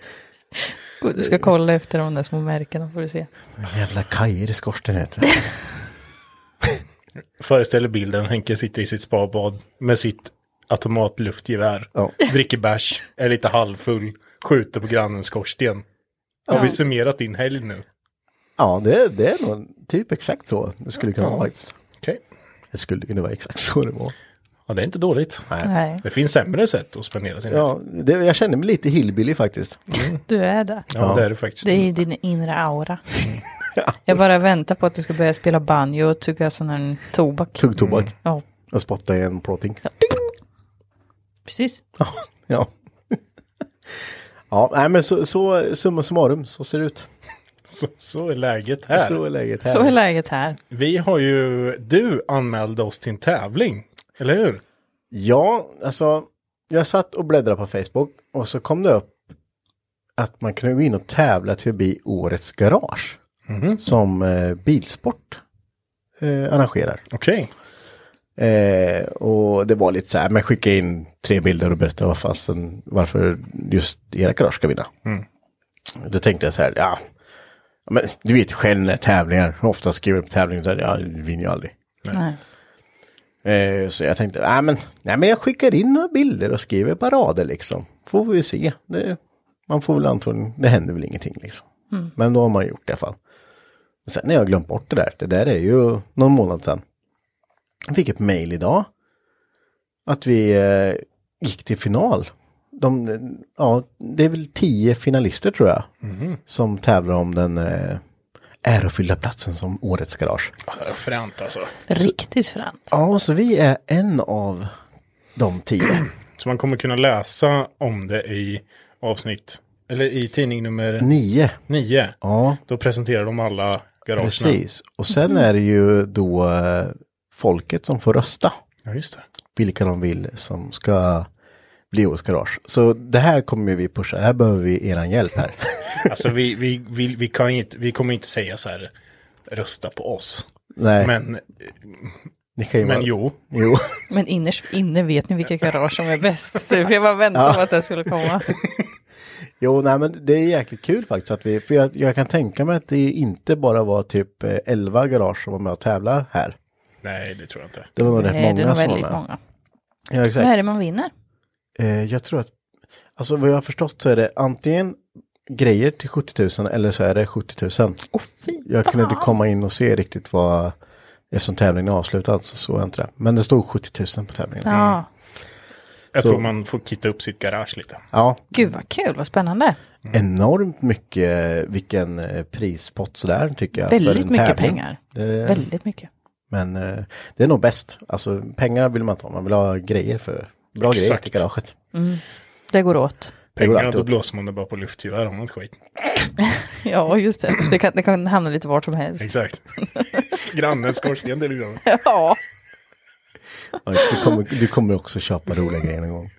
Speaker 1: Gud, Du ska kolla efter de där små märkena får du se.
Speaker 2: Jävla kajer i skorstenen heter det.
Speaker 3: Föreställ dig bilden, Henke sitter i sitt spabad med sitt automatluftgevär,
Speaker 2: Ja.
Speaker 3: dricker bärs, är lite halvfull, skjuter på grannens skorsten. Har vi summerat din helg nu?
Speaker 2: Ja, det, är- det är nog typ exakt så det skulle kunna vara faktiskt.
Speaker 3: Okej.
Speaker 2: Det skulle kunna vara exakt så det var.
Speaker 3: Ja, det är inte dåligt.
Speaker 1: Nej,
Speaker 3: Det finns sämre sätt att spendera sin helg.
Speaker 2: Ja, det, jag känner mig lite hillbilly faktiskt.
Speaker 1: du är det.
Speaker 3: Ja, det är det faktiskt.
Speaker 1: Det är din inre aura. Jag bara väntar på att du ska börja spela banjo och tugga sån här tobak.
Speaker 2: Tugg tobak
Speaker 1: Ja,
Speaker 2: och spotta i en plåtink.
Speaker 1: precis.
Speaker 2: Ja. ja, nej men så, så summa summarum, så ser det ut.
Speaker 3: Så, så är läget här.
Speaker 2: Så är läget här.
Speaker 1: Så är läget här.
Speaker 3: Vi har ju, du anmälde oss till en tävling, eller hur?
Speaker 2: Ja, alltså jag satt och bläddrade på Facebook och så kom det upp att man kunde gå in och tävla till att bli Årets Garage.
Speaker 1: Mhm.
Speaker 2: Som eh, Bilsport eh, arrangerar.
Speaker 3: Okej.
Speaker 2: Eh, och Och det var lite så här, men skicka in tre bilder och berätta vad fasen, varför just era garage ska vinna. Då tänkte jag så här, ja, men du vet själv när tävlingar, ofta skriver jag på tävlingar, så här, ja, du vinner ju aldrig.
Speaker 1: Nej.
Speaker 2: Eh, Så jag tänkte, nej men, nej men jag skickar in några bilder och skriver ett par rader liksom. Får vi se. Det, man får väl antagligen, det händer väl ingenting liksom. Men då har man gjort det i alla fall. Sen har jag glömt bort det där. Det där är ju någon månad sedan. Jag fick ett mejl idag. Att vi eh, gick till final. De, eh, ja, det är väl tio finalister tror jag. Som tävlar om den eh, ärofyllda platsen som årets garage.
Speaker 3: Ja, Fränt alltså.
Speaker 1: Riktigt fränt.
Speaker 2: Ja, så vi är en av de tio.
Speaker 3: Så man kommer kunna läsa om det i avsnitt, eller i tidning nummer
Speaker 2: Nio.
Speaker 3: nio.
Speaker 2: Ja,
Speaker 3: Då presenterar de alla garagen.
Speaker 2: precis. Och sen är det ju då eh, folket som får rösta.
Speaker 3: Ja, just det.
Speaker 2: Vilka de vill som ska bli årets garage. Så det här kommer ju vi pusha. Här behöver vi eran hjälp här.
Speaker 3: Alltså vi, vi, vi, vi, kan inte, vi kommer inte säga så här, rösta på oss.
Speaker 2: Nej,
Speaker 3: Men,
Speaker 2: ni kan ju
Speaker 3: men
Speaker 2: vara-
Speaker 3: jo,
Speaker 2: jo.
Speaker 1: Men innerst inne vet ni vilket garage som är bäst. Typ. Jag bara väntade på att det skulle komma.
Speaker 2: Jo, nej men det är jäkligt kul faktiskt att vi, för jag, jag kan tänka mig att det inte bara var typ eh, 11 garage som var med och tävlar här.
Speaker 3: nej det tror jag inte.
Speaker 2: Det var nog rätt
Speaker 1: Nej, det är
Speaker 2: många
Speaker 1: nog
Speaker 2: som var
Speaker 1: väldigt
Speaker 2: med.
Speaker 1: många.
Speaker 2: Ja, exakt.
Speaker 1: Vad är det man vinner?
Speaker 2: Eh, jag tror att, alltså vad jag har förstått så är det antingen grejer till 70 000 eller så är det 70 000.
Speaker 1: Åh fy
Speaker 2: Jag kunde inte
Speaker 1: fan.
Speaker 2: komma in och se riktigt vad, eftersom tävlingen är avslutad så såg jag inte det. Men det stod 70 000 på tävlingen.
Speaker 1: Ja,
Speaker 3: Jag
Speaker 2: Så-
Speaker 3: tror man får kitta upp sitt garage lite.
Speaker 2: Ja,
Speaker 1: gud vad kul, vad spännande.
Speaker 3: Mm.
Speaker 2: enormt mycket, eh, vilken eh, prispott sådär tycker jag. för
Speaker 1: Väldigt
Speaker 2: en
Speaker 1: mycket
Speaker 2: tävling.
Speaker 1: pengar.
Speaker 2: Det,
Speaker 1: Väldigt mycket.
Speaker 2: men eh, det är nog bäst. Alltså pengar vill man inte ha, man vill ha grejer för, bra grejer
Speaker 3: Exakt.
Speaker 2: till garaget.
Speaker 1: Det går åt.
Speaker 2: Det går
Speaker 3: Pengarna,
Speaker 2: alltid
Speaker 3: då
Speaker 2: åt.
Speaker 3: blåser man det bara på luftgevär om något skit.
Speaker 1: Ja, just det. Det kan, det kan hamna lite vart som helst.
Speaker 3: Exakt. Grannens skorsten liksom- till exempel.
Speaker 1: Ja,
Speaker 2: Ja, du, kommer, du kommer också köpa roliga grejer någon gång.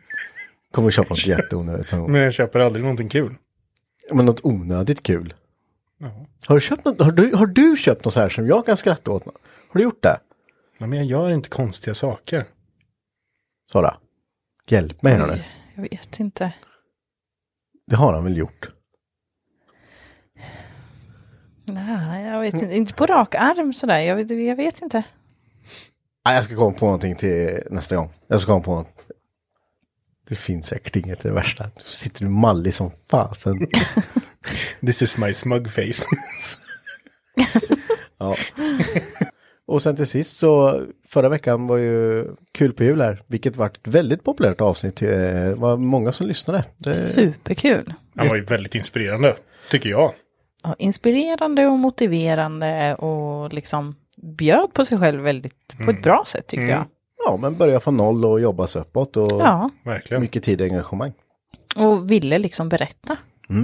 Speaker 2: Kommer köpa något jätteonödigt någon gång.
Speaker 3: Men jag köper aldrig någonting kul.
Speaker 2: Men något onödigt kul.
Speaker 3: Ja.
Speaker 2: Har du, köpt något, har, du, har du köpt något så här som jag kan skratta åt? Har du gjort det?
Speaker 3: Nej, men jag gör inte konstiga saker.
Speaker 2: Sara? Hjälp mig här nu.
Speaker 1: jag vet inte.
Speaker 2: Det har han väl gjort?
Speaker 1: Nej, jag vet inte. Inte på rak arm sådär. Jag vet, jag vet inte.
Speaker 2: Nej, jag ska komma på någonting till nästa gång. Jag ska komma på något. Det finns säkert inget det värsta. Nu sitter du mallig som fasen.
Speaker 3: This is my smug face.
Speaker 2: Ja. Och sen till sist så förra veckan var ju kul på jul här, vilket var ett väldigt populärt avsnitt. Eh, Det var många som lyssnade. Det,
Speaker 1: Superkul.
Speaker 3: Han var ju väldigt inspirerande, tycker jag.
Speaker 1: Ja, inspirerande och motiverande och liksom bjöd på sig själv väldigt på
Speaker 2: Mm.
Speaker 1: ett bra sätt tycker jag.
Speaker 2: ja, men börja från noll och jobba sig uppåt och
Speaker 1: Ja,
Speaker 3: Verkligen.
Speaker 2: mycket tid och engagemang.
Speaker 1: och ville liksom berätta.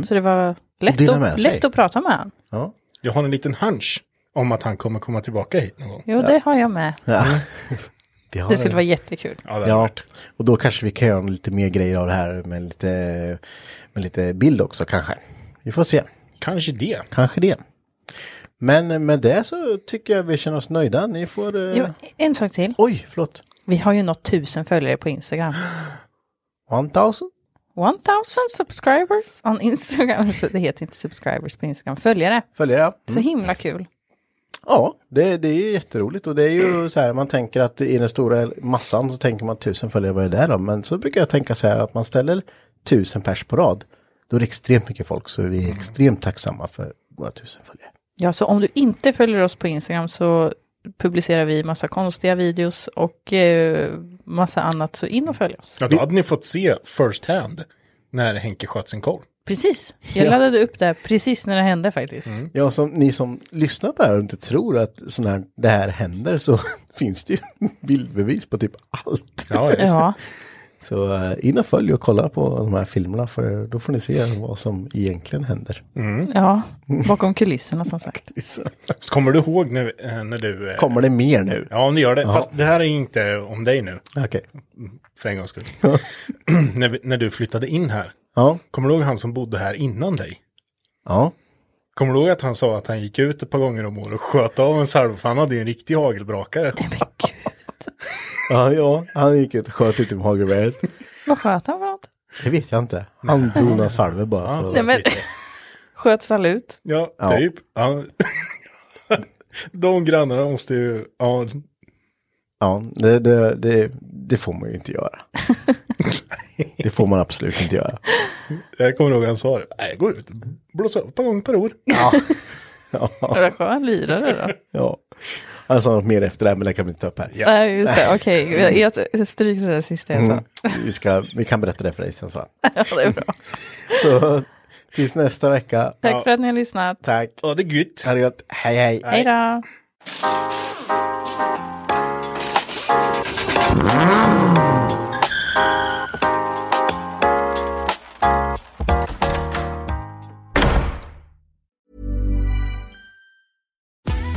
Speaker 1: Så det var
Speaker 2: Och
Speaker 1: lätt,
Speaker 2: Mm. dela med
Speaker 1: att,
Speaker 2: sig.
Speaker 1: lätt att prata med honom.
Speaker 2: Ja.
Speaker 3: Jag har en liten hunch om att han kommer komma tillbaka hit någon gång.
Speaker 1: Jo, det har jag med.
Speaker 2: Ja. Vi har
Speaker 1: Mm. Det skulle vara jättekul.
Speaker 3: Ja, det
Speaker 2: Ja, och då kanske vi kan göra lite mer grejer av det här med lite, med lite bild också kanske. Vi får se,
Speaker 3: Kanske det.
Speaker 2: kanske det. Men med det så tycker jag vi känner oss nöjda. Ni får... eh,
Speaker 1: Jo, en sak till.
Speaker 2: Oj, förlåt.
Speaker 1: Vi har ju nått tusen följare på Instagram.
Speaker 2: 1000?
Speaker 1: 1000 subscribers on Instagram. Så det heter inte subscribers på Instagram, följare.
Speaker 2: Följer jag?
Speaker 1: Så himla kul.
Speaker 2: Ja, det, det är ju jätteroligt och det är ju så här man tänker att i den stora massan så tänker man tusen följare, vad är det där då? Men så brukar jag tänka så här att man ställer tusen pers på rad. Då är det extremt mycket folk så vi är extremt tacksamma för våra tusen följare.
Speaker 1: Ja, så om du inte följer oss på Instagram så publicerar vi massa konstiga videos och eh, massa annat, så in och följ oss.
Speaker 3: Ja, då hade ni fått se first hand när Henke sköt sin korv.
Speaker 1: Precis, jag laddade upp det här precis när det hände faktiskt.
Speaker 2: Ja, som ni som lyssnar på det här och inte tror att sån här, det här händer så finns det ju bildbevis på typ allt.
Speaker 3: Ja, just det.
Speaker 1: Ja,
Speaker 2: Så eh, in och följ och kolla på de här filmerna för då får ni se vad som egentligen händer.
Speaker 1: ja, bakom kulisserna som sagt.
Speaker 2: Så
Speaker 3: Så kommer du ihåg nu eh, när du... eh,
Speaker 2: kommer det mer nu?
Speaker 3: Ja, nu gör det. Fast det här är ju inte om dig nu,
Speaker 2: Okej.
Speaker 3: för en gångs skull. när, vi- när du flyttade in här,
Speaker 2: Ja.
Speaker 3: kommer du ihåg han som bodde här innan dig?
Speaker 2: Ja.
Speaker 3: Kommer du ihåg att han sa att han gick ut ett par gånger om året och sköt av en salva? för Han hade ju en riktig hagelbrakare.
Speaker 1: Men gud,
Speaker 2: Ja, ja, han gick ut och sköt ut i hagelbrädet.
Speaker 1: Vad sköt han för något?
Speaker 2: Det vet jag inte. Han drog några salvor bara. För
Speaker 1: Nej, men, sköt salut.
Speaker 3: Ja,
Speaker 2: Ja.
Speaker 3: typ. Ja. De grannarna måste ju, ja,
Speaker 2: Ja, det, det, det, det får man ju inte göra. Det får man absolut inte göra.
Speaker 3: jag kommer ihåg han sa det. Nej, jag går ut och blåser upp en gång per år.
Speaker 1: Ja. Vad skön lirare då.
Speaker 2: Ja. Han sa något mer efter det här, men det kan vi inte ta upp här.
Speaker 1: Nej, just det. Okej, jag, jag stryker det där sista jag sa.
Speaker 2: Mm. Vi, ska, vi kan berätta det för dig sen. Så.
Speaker 1: Ja, det är bra.
Speaker 2: så tills nästa vecka.
Speaker 1: Tack för att ni har lyssnat.
Speaker 2: Tack.
Speaker 3: Ja, det är gött.
Speaker 2: Ha det gott. Hej, hej.
Speaker 1: Hej då.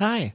Speaker 4: Hi,